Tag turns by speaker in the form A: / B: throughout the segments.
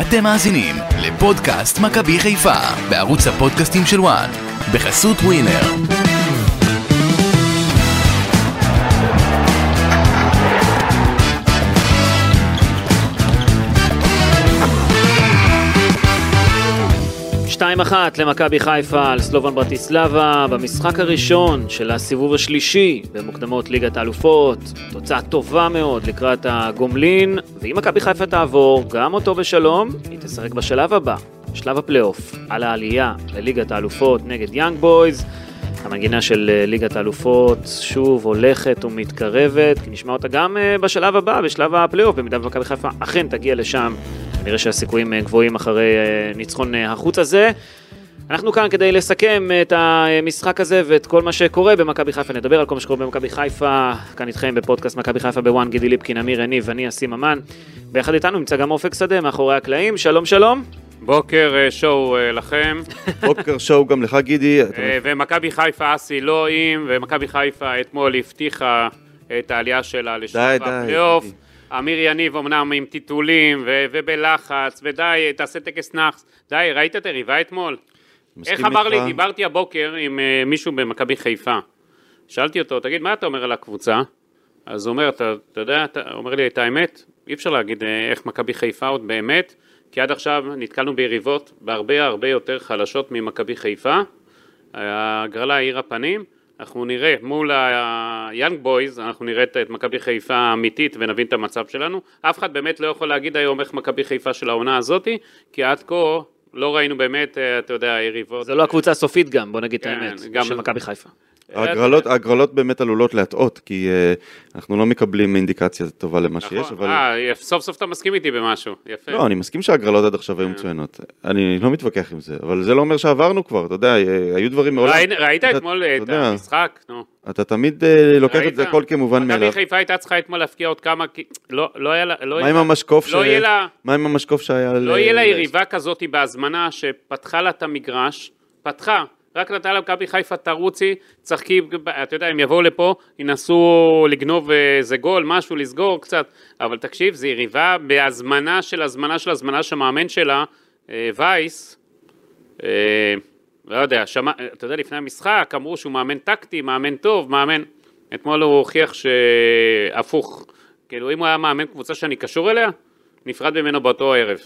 A: אתם מאזינים לפודקאסט מכבי חיפה בערוץ הפודקאסטים של וואן בחסות ווינר.
B: שתיים אחת למכבי חיפה על סלובן ברטיסלבה במשחק הראשון של הסיבוב השלישי במוקדמות ליגת האלופות. תוצאה טובה מאוד לקראת הגומלין, ואם מכבי חיפה תעבור, גם אותו בשלום, היא תשחק בשלב הבא, שלב הפלייאוף, על העלייה לליגת האלופות נגד יאנג בויז. המנגינה של אה, ליגת האלופות שוב הולכת ומתקרבת, כי נשמע אותה גם אה, בשלב הבא, בשלב הפלייאוף, במידה ומכבי חיפה אכן תגיע לשם. נראה שהסיכויים אה, גבוהים אחרי אה, ניצחון אה, החוץ הזה. אנחנו כאן כדי לסכם אה, את המשחק הזה ואת כל מה שקורה במכבי חיפה. נדבר על כל מה שקורה במכבי חיפה, כאן איתכם בפודקאסט מכבי חיפה בוואן, גידי ליפקין, אמיר יניב ואני אסים אמן. ביחד איתנו נמצא גם אופק שדה מאחורי הקלעים, שלום שלום.
C: בוקר אה, שואו אה, לכם,
D: בוקר שואו גם לך גידי, אתה
C: אה, ומכבי חיפה אסי לא עם, ומכבי חיפה אתמול הבטיחה את העלייה שלה לשלב
D: די, די,
C: הפלייאוף.
D: גידי.
C: אמיר יניב אמנם עם טיטולים ו- ובלחץ, ודי, תעשה טקס נאחס. די, ראית את היריבה אתמול?
D: מסכים
C: איך אמר לי,
D: איתך?
C: דיברתי הבוקר עם אה, מישהו במכבי חיפה. שאלתי אותו, תגיד, מה אתה אומר על הקבוצה? אז הוא אומר, אתה, אתה יודע, אתה הוא אומר לי את האמת, אי אפשר להגיד אה, איך מכבי חיפה עוד באמת, כי עד עכשיו נתקלנו ביריבות בהרבה הרבה יותר חלשות ממכבי חיפה. ההגרלה האירה פנים, אנחנו נראה מול היאנג בויז, אנחנו נראה את- את מכבי חיפה האמיתית ונבין את המצב שלנו. אף אחד באמת לא יכול להגיד היום איך מכבי חיפה של העונה הזאתי, כי עד כה לא ראינו באמת, אה, אתה יודע, יריבות.
B: זו לא הקבוצה הסופית גם, בוא נגיד את
C: כן,
B: האמת,
C: גם-
B: של מכבי חיפה.
D: ההגרלות,
C: אה,
D: ההגרלות באמת עלולות להטעות, כי אה, אנחנו לא מקבלים אינדיקציה טובה למה שיש,
C: נכון.
D: אבל...
C: אה, סוף סוף אתה מסכים איתי במשהו, יפה.
D: לא, אני מסכים שההגרלות עד עכשיו היו
C: אה.
D: מצוינות. אני לא מתווכח עם זה, אבל זה לא אומר שעברנו כבר, אתה יודע, אה, היו דברים מעולם.
C: ראי- ראית
D: אתה-
C: אתמול
D: אתה
C: את
D: יודע,
C: המשחק? נו.
D: אתה תמיד אה, לוקח
C: ראית?
D: את זה הכל כמובן מאליו.
C: מכבי חיפה הייתה צריכה אתמול להפקיע עוד כמה, כי- לא לא היה לה... לא
D: מה
C: היה-
D: עם המשקוף ש...
C: לא יהיה לה...
D: מה עם המשקוף שהיה... ל-
C: לא יהיה לה
D: ל-
C: יריבה כזאת בהזמנה שפתחה לה את המגרש, פתחה, רק נתנה למכבי חיפה תרוצי, צחקי, אתה יודע, הם יבואו לפה, ינסו לגנוב אה, איזה גול, משהו, לסגור קצת, אבל תקשיב, זו יריבה בהזמנה של הזמנה של הזמנה שהמאמן שלה, אה, וייס, אה, לא יודע, שמע, אתה יודע, לפני המשחק אמרו שהוא מאמן טקטי, מאמן טוב, מאמן... אתמול הוא הוכיח שהפוך, כאילו אם הוא היה מאמן קבוצה שאני קשור אליה, נפרד ממנו באותו ערב.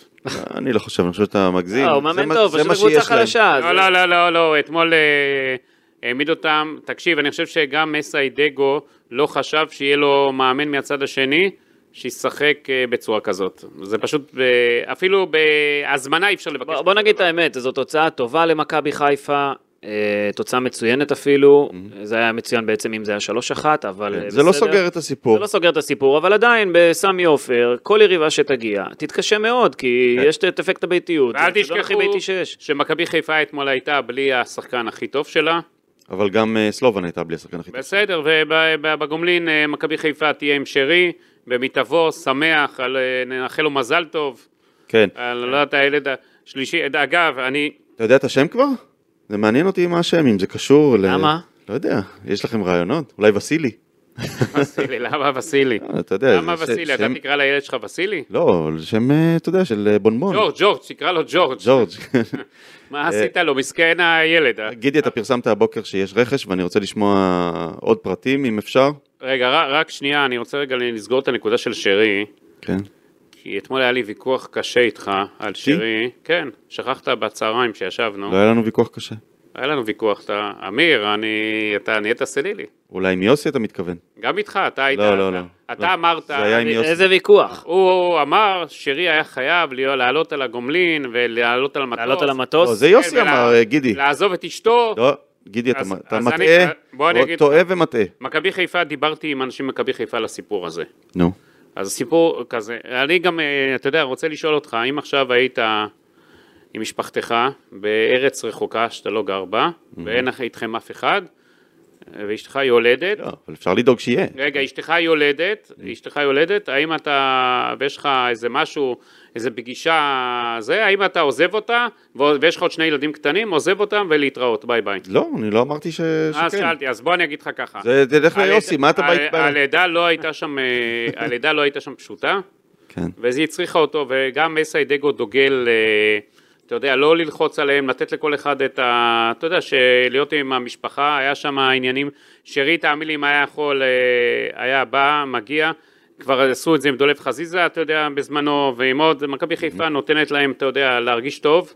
D: אני לא חושב, אני חושב שאתה מגזים.
C: אה,
B: לא, הוא
D: זה
B: מאמן
D: מה-
B: טוב,
D: זה
B: פשוט
D: מה
B: קבוצה
D: שיש להם.
B: חלשה.
C: לא,
B: זה-
C: לא, לא, לא, לא, אתמול אה, העמיד אותם, תקשיב, אני חושב שגם מסאי דגו לא חשב שיהיה לו מאמן מהצד השני שישחק אה, בצורה כזאת. זה פשוט, אה, אפילו בהזמנה אי אפשר לבקש.
B: בוא, בוא נגיד את האמת, זו תוצאה טובה למכבי חיפה, אה, תוצאה מצוינת אפילו, זה היה מצוין בעצם אם זה היה 3-1, אבל אה,
D: Mm-hmm. זה לא
B: בסדר.
D: סוגר את
B: זה
D: הסיפור.
B: לא סוגר את הסיפור, אבל עדיין בסמי עופר, כל יריבה שתגיע, תתקשה מאוד, כי יש את אפקט הביתיות.
C: ואל
B: זה הדבר הכי
C: תשכחו
B: ביתי שיש.
C: שמכבי חיפה אתמול הייתה בלי השחקן הכי טוב שלה. לא-
D: אבל גם אה, סלובן הייתה בלי השחקן הכי טוב.
C: בסדר, ובגומלין אה, מכבי חיפה תהיה עם שרי, ומתעבור, שמח, על, אה, נאחל לו מזל טוב,
D: כן.
C: על לא יודעת, הילד השלישי, אה, אגב, אני,
D: אתה יודע את השם כבר? זה מעניין אותי מה השם, אם זה קשור ל...
B: למה?
D: לא יודע, יש לכם רעיונות? אולי וסילי?
C: וסילי, למה וסילי?
D: אה, אתה יודע,
C: למה
D: זה ש-
C: וסילי? אתה
D: שם-
C: תקרא לילד שלך וסילי?
D: לא, שם, אה, אתה יודע, של אה, בונבון.
C: ג'ורג', ג'ורג', תקרא לו ג'ורג'.
D: ג'ורג'. אה,
C: מה עשית לו? מסכן הילד. אה?
D: גידי, אתה פרסמת הבוקר שיש רכש, ואני רוצה לשמוע עוד פרטים, אם אפשר.
C: רגע, ר- רק שנייה, אני רוצה רגע לסגור את הנקודה של שרי,
D: כן.
C: כי אתמול היה לי ויכוח קשה איתך על שרי. כן, שכחת בצהריים שישבנו.
D: לא היה לנו ויכוח קשה.
C: היה לנו ויכוח, אתה... אמיר, אני... אתה נהיית סלילי.
D: אולי עם יוסי אתה מתכוון.
C: גם איתך, אתה היית...
D: לא, לא, לא.
C: אתה
D: לא.
C: אמרת...
D: זה היה עם יוסי.
B: איזה ויכוח.
C: הוא אמר, שרי היה חייב להיות- לעלות על הגומלין ולעלות על המטוס.
B: לעלות על המטוס.
D: לא, זה יוסי
C: כן,
D: אמר,
C: ולה-
D: אה, גידי.
C: לעזוב את אשתו.
D: לא, גידי, אתה
C: אז-
D: מ- אתה
C: אז אני-
D: מטעה,
C: בוא אני
D: הוא
C: אגיד-
D: טועה ומטעה.
C: מכבי חיפה, דיברתי עם אנשים ממכבי חיפה על הסיפור הזה.
D: נו.
C: אז סיפור כזה, אני גם, אה, אתה יודע, רוצה לשאול אותך, אם עכשיו היית עם משפחתך בארץ רחוקה שאתה לא גר בה, ואין לך- איתכם אף אחד, אה, ואשתך יולדת,
D: לא, אבל אפשר לדאוג שיהיה.
C: רגע, אשתך יולדת, אשתך יולדת, האם אתה, ויש לך איזה משהו, איזה פגישה, זה, האם אתה עוזב אותה, ועוד- ויש לך עוד שני ילדים קטנים, עוזב אותם ולהתראות, ביי ביי.
D: לא, אני לא אמרתי ש-
C: אה, אז
D: שכן.
C: שאלתי, אז בוא אני אגיד לך ככה.
D: זה תלך ליוסי,
C: הלידה-
D: מה אתה בא...
C: ה- הלידה לא הייתה שם, אה, הלידה לא הייתה שם פשוטה.
D: כן.
C: וזה הצריכה אותו, וגם אסיידגו דוגל, אה, אתה יודע, לא ללחוץ עליהם, לתת לכל אחד את ה... אתה יודע, שלהיות עם המשפחה, היה שם עניינים, שרי, תאמין לי, אם היה יכול, אה, היה בא, מגיע, כבר עשו את זה עם דולב חזיזה, אתה יודע, בזמנו, ועם עוד, מכבי חיפה נותנת להם, אתה יודע, להרגיש טוב,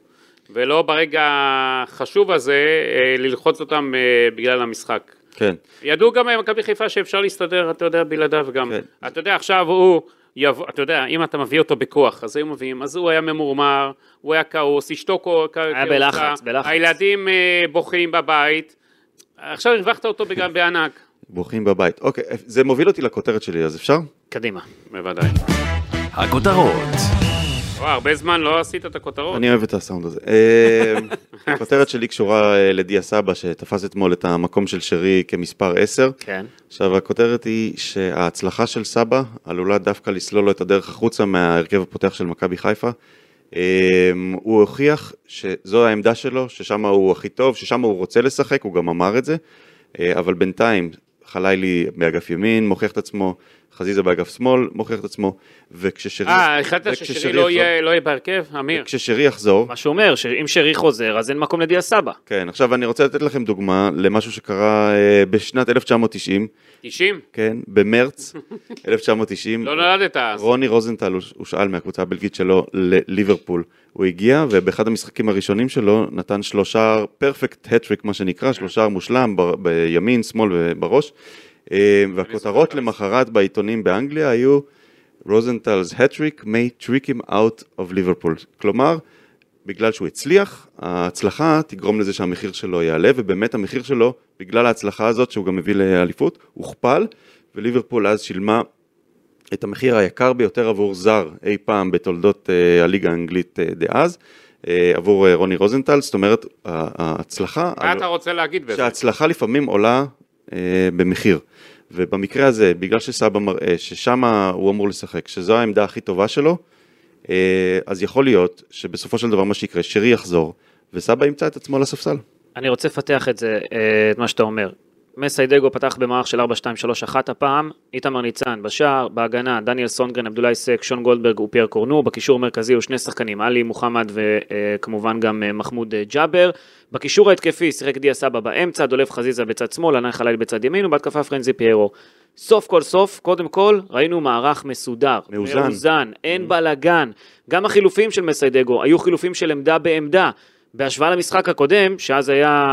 C: ולא ברגע החשוב הזה, אה, ללחוץ אותם אה, בגלל המשחק.
D: כן.
C: ידעו גם מכבי חיפה שאפשר להסתדר, אתה יודע, בלעדיו גם.
D: כן.
C: אתה יודע, עכשיו הוא יבוא, אתה יודע, אם אתה מביא אותו בכוח, אז היו מביאים, אז הוא היה ממורמר, הוא היה כעוס, אשתו כעוס,
B: היה בלחץ, בלחץ.
C: הילדים אה, בוכים בבית, עכשיו הרווחת אותו
B: כן.
C: בגלל בענק.
D: בוכים בבית. אוקיי, זה מוביל אותי לכותרת שלי, אז אפשר?
B: קדימה.
C: בוודאי.
A: הכותרות
C: וואי, הרבה זמן לא עשית את הכותרות.
D: אני אוהב את הסאונד הזה. אה, הכותרת שלי קשורה אה, לדיה סבא, שתפס אתמול את המקום של שרי כמספר 10.
B: כן.
D: עכשיו, הכותרת היא שההצלחה של סבא עלולה דווקא לסלול לו את הדרך החוצה מההרכב הפותח של מכבי חיפה. אמ, הוא הוכיח שזו העמדה שלו, ששם הוא הכי טוב, ששם הוא רוצה לשחק, הוא גם אמר את זה, אה, אבל בינתיים חלילי באגף ימין מוכיח את עצמו, חזיזה באגף שמאל מוכיח את עצמו, וכששרי...
C: אה, החלטת
D: וכששרי
C: ששרי לא
D: יחזור-
C: יהיה לא יהיה בהרכב? אמיר.
D: כששרי יחזור,
B: מה שהוא אומר, שאם שרי חוזר, אז אין מקום לדיה סבא.
D: כן, עכשיו אני רוצה לתת לכם דוגמה למשהו שקרה אה, בשנת 1990,
C: 90?
D: כן, במרץ 1990.
C: לא נולדת אז.
D: רוני רוזנטל הוש- הושאל מהקבוצה הבלגית שלו לליברפול. הוא הגיע, ובאחד המשחקים הראשונים שלו נתן שלושה פרפקט הטריק, מה שנקרא, שלושה מושלם ב- בימין, שמאל ובראש. אה, והכותרות למחרת בעיתונים באנגליה היו רוזנטל's הטריק may trick him out of Liverpool. כלומר, בגלל שהוא הצליח, ההצלחה תגרום לזה שהמחיר שלו יעלה, ובאמת המחיר שלו, בגלל ההצלחה הזאת שהוא גם מביא לאליפות, הוכפל, וליברפול אז שילמה את המחיר היקר ביותר עבור זר אי פעם בתולדות אה, הליגה האנגלית אה, דאז, אה, עבור אה, רוני רוזנטל, זאת אומרת, ה- ההצלחה...
C: מה אתה רוצה להגיד בזה?
D: שההצלחה לפעמים עולה אה, במחיר. ובמקרה הזה, בגלל שסבא מראה ששם הוא אמור לשחק, שזו העמדה הכי טובה שלו, אה, אז יכול להיות שבסופו של דבר מה שיקרה, שרי יחזור, וסבא ימצא את עצמו על הספסל.
B: אני רוצה לפתח את זה, אה, את מה שאתה אומר. מסיידגו פתח במערך של 4-2-3-1 הפעם, איתמר ניצן בשער, בהגנה דניאל סונגרן, עבדולאי סק, שון גולדברג ופייר קורנו, בקישור המרכזי היו שני שחקנים, עלי מוחמד וכמובן גם אה, מחמוד אה, ג'אבר. בקישור ההתקפי שיחק דיה סבא באמצע, דולב חזיזה בצד שמאל, ענן חליל בצד ימין ובהתקפה פרנזי פיירו. סוף כל סוף, קודם כל, ראינו מערך מסודר.
D: מאוזן. Mm.
B: מאוזן, אין בלאגן. גם החילופים של מסיידגו היו חילופים של עמדה בעמדה. בהשוואה למשחק הקודם, שאז היה,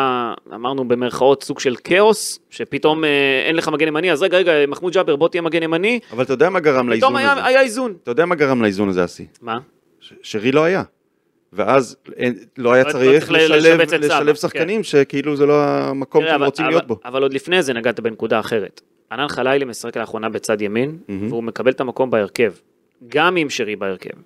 B: אמרנו במרכאות, סוג של כאוס, שפתאום אה, אין לך מגן ימני, אז רגע, רגע, מחמוד ג'אבר, בוא תהיה מגן ימני,
D: אבל אתה יודע מה גרם
B: פתאום
D: לאיזון
B: היה,
D: הזה?
B: היה איזון.
D: אתה יודע מה גרם לאיזון הזה, אסי?
B: מה?
D: ש- שרי לא היה. ואז אין- לא היה
B: לא צריך
D: צריך
B: ל-
D: לשלב,
B: לשבץ את סבא, כן.
D: לשלב שחקנים שכאילו זה לא המקום
B: תראה,
D: שהם רוצים להיות בו.
B: אבל עוד לפני זה נגעת בנקודה אחרת. ענן חלילי משחק לאחרונה בצד ימין,
D: מהמם.
B: והוא מקבל את המקום בהרכב, גם עם שרי בהרכב.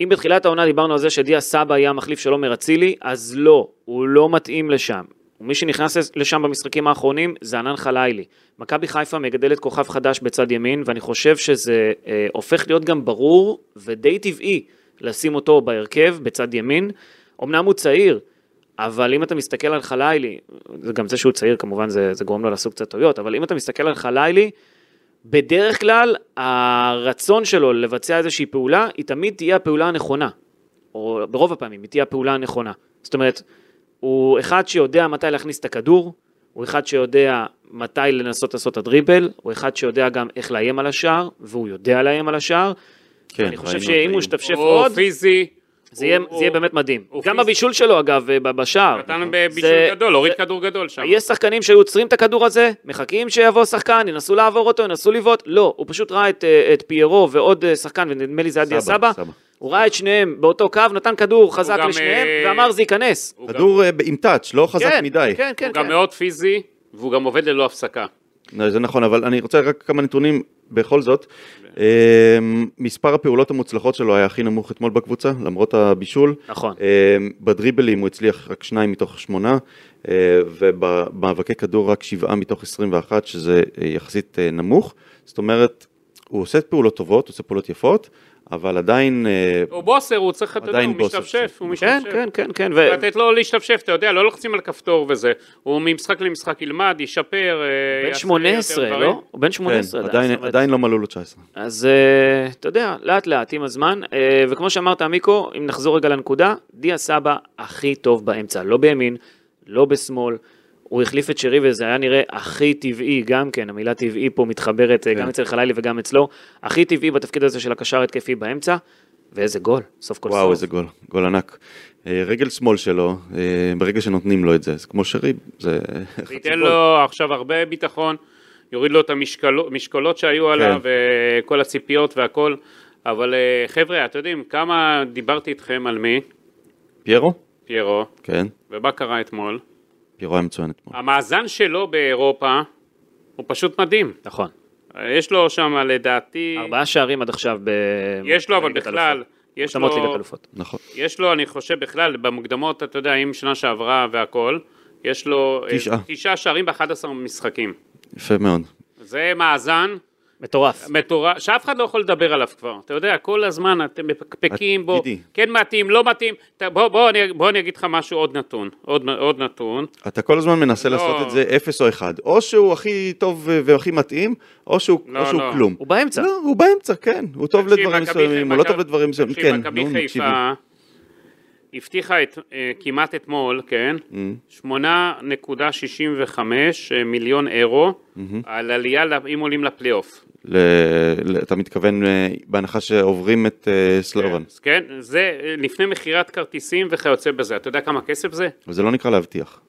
B: אם בתחילת העונה דיברנו על זה שדיה סבא היה המחליף של עומר אצילי, אז לא, הוא לא מתאים לשם. ומי שנכנס לשם במשחקים האחרונים זה ענן חלילי. מכבי חיפה מגדלת כוכב חדש בצד ימין, ואני חושב שזה אה, הופך להיות גם ברור ודי טבעי לשים אותו בהרכב בצד ימין. אמנם הוא צעיר, אבל אם אתה מסתכל על חלילי, זה גם זה שהוא צעיר כמובן זה, זה גורם לו לעשות קצת טעויות, אבל אם אתה מסתכל על חלילי, בדרך כלל הרצון שלו לבצע איזושהי פעולה, היא תמיד תהיה הפעולה הנכונה. או ברוב הפעמים, היא תהיה הפעולה הנכונה. זאת אומרת, הוא אחד שיודע מתי להכניס את הכדור, הוא אחד שיודע מתי לנסות לעשות את הדריבל, הוא אחד שיודע גם איך לאיים על השער, והוא יודע לאיים על השער.
D: כן,
B: אני חושב
D: ראינו
B: שאם
D: את
B: הוא
D: זה.
B: ישתפשף
C: או
B: עוד,
C: פיזי.
B: זה יהיה-
C: או-
B: זה יהיה באמת מדהים. גם
C: הוא פיזי.
B: הבישול שלו אגב, אה, ב- בשער.
C: נתן
B: נכון. זה-
C: בבישול גדול, הוריד כדור גדול שם.
B: יש שחקנים שהיו עוצרים את הכדור הזה, מחכים שיבוא שחקן, ינסו לעבור אותו, ינסו לבעוט, לא, הוא פשוט ראה את, אה, את פיירו ועוד אה, שחקן, ונדמה לי זה היה דיה
D: סבא,
B: סבא,
D: סבא.
B: הוא ראה את שניהם באותו קו, נתן כדור חזק
C: גם,
B: לשניהם,
C: אה,
B: ואמר זה ייכנס.
C: הוא גם-
D: כדור אה, ב- עם טאץ', לא חזק
B: כן,
D: מדי.
B: כן, כן,
C: הוא
B: כן.
C: גם מאוד פיזי, והוא גם עובד ללא הפסקה.
D: לא, זה נכון, אבל אני רוצה רק כמה נתונים בכל זאת. אמ, מספר הפעולות המוצלחות שלו היה הכי נמוך אתמול בקבוצה, למרות הבישול.
B: נכון.
D: אמ, בדריבלים הוא הצליח רק שניים מתוך שמונה, אה, ובמאבקי כדור רק שבעה מתוך 21, שזה אה, יחסית אה, נמוך. זאת אומרת, הוא עושה פעולות טובות, הוא עושה פעולות יפות, אבל עדיין, אה,
C: הוא בוסר, הוא צריך, אתה יודע,
D: עדיין
C: הוא
D: בוסר,
C: משתפשף,
D: כן.
C: הוא
B: כן,
C: משתפשף.
B: כן, כן, כן, ו...
C: לתת לו להשתפשף, אתה יודע, לא לוחצים על כפתור וזה. הוא ממשחק למשחק ילמד, ישפר, אה,
B: בן
C: יעשה
B: 18,
C: יותר דברים.
B: לא? הוא בן
D: כן,
B: 18. עדיין,
D: עדיין,
B: זאת אומרת,
D: עדיין לא מלאו לו 19.
B: אז אה, אתה יודע, לאט לאט עם הזמן, אה, וכמו שאמרת עמיקו, אם נחזור רגע לנקודה, דיה סבא הכי טוב באמצע, לא בימין, לא בשמאל, הוא החליף את שרי וזה היה נראה הכי טבעי גם כן, המילה טבעי פה מתחברת
D: כן.
B: אה, גם אצל חלילי וגם אצלו, הכי טבעי בתפקיד הזה של הקשר התקפי באמצע, ואיזה גול, סוף כל סוף.
D: וואו, איזה גול, גול ענק. אה, רגל שמאל שלו, אה, ברגע שנותנים לו את זה, זה כמו שרי, זה...
C: זה ייתן לו עכשיו הרבה ביטחון, יוריד לו את המשקולות
D: כן.
C: שהיו עליו, וכל הציפיות והכל. אבל אה, חבר'ה, אתם יודעים, כמה דיברתי איתכם על מי?
D: פיירו?
C: פיירו,
D: כן,
C: ומה קרה אתמול?
D: פיירו היה מצוין אתמול.
C: המאזן שלו באירופה הוא פשוט מדהים.
B: נכון.
C: יש לו שם לדעתי,
B: ארבעה שערים עד עכשיו ב...
C: יש לו אבל
B: בליגת
C: בכלל,
B: אלופות.
C: יש
B: מוקדמות ליגת
C: לו,
B: אלופות.
D: נכון.
C: יש לו אני חושב בכלל במוקדמות, אתה יודע, עם שנה שעברה והכל, יש לו אה,
D: תשעה.
C: תשעה שערים ב-11 משחקים.
D: יפה מאוד.
C: זה מאזן
B: מטורף.
C: מטורף, שאף אחד לא יכול לדבר עליו כבר. אתה יודע, כל הזמן אתם מפקפקים
D: את-
C: בו,
D: גידי.
C: כן מתאים, לא מתאים. אתה- בוא, בוא, אני, בוא אני אגיד לך משהו, עוד נתון. עוד, עוד נתון.
D: אתה כל הזמן מנסה
C: לא.
D: לעשות את זה אפס או אחד. או שהוא הכי טוב ו- והכי מתאים, או שהוא,
C: לא,
D: או שהוא
C: לא.
D: כלום.
B: הוא באמצע.
D: לא, הוא באמצע, כן. הוא טוב
C: תקשיב,
D: לדברים
C: מכבי-
D: מסוימים, הוא לא
C: מכבי-
D: טוב לדברים מסוימים.
C: תקשיב,
D: כן,
C: מכבי
D: נו, מקשיבים.
C: חיפה הבטיחה את, אה, כמעט אתמול, כן?
D: Mm-hmm.
C: 8.65 אה, מיליון אירו
D: Mm-hmm.
C: על עלייה, ל- אם עולים לפלייאוף.
D: ל- ל- אתה מתכוון, אה, בהנחה שעוברים את אה, סלובן.
C: אז כן, זה אה, לפני מכירת כרטיסים וכיוצא בזה. אתה יודע כמה כסף זה?
D: אבל זה לא נקרא להבטיח.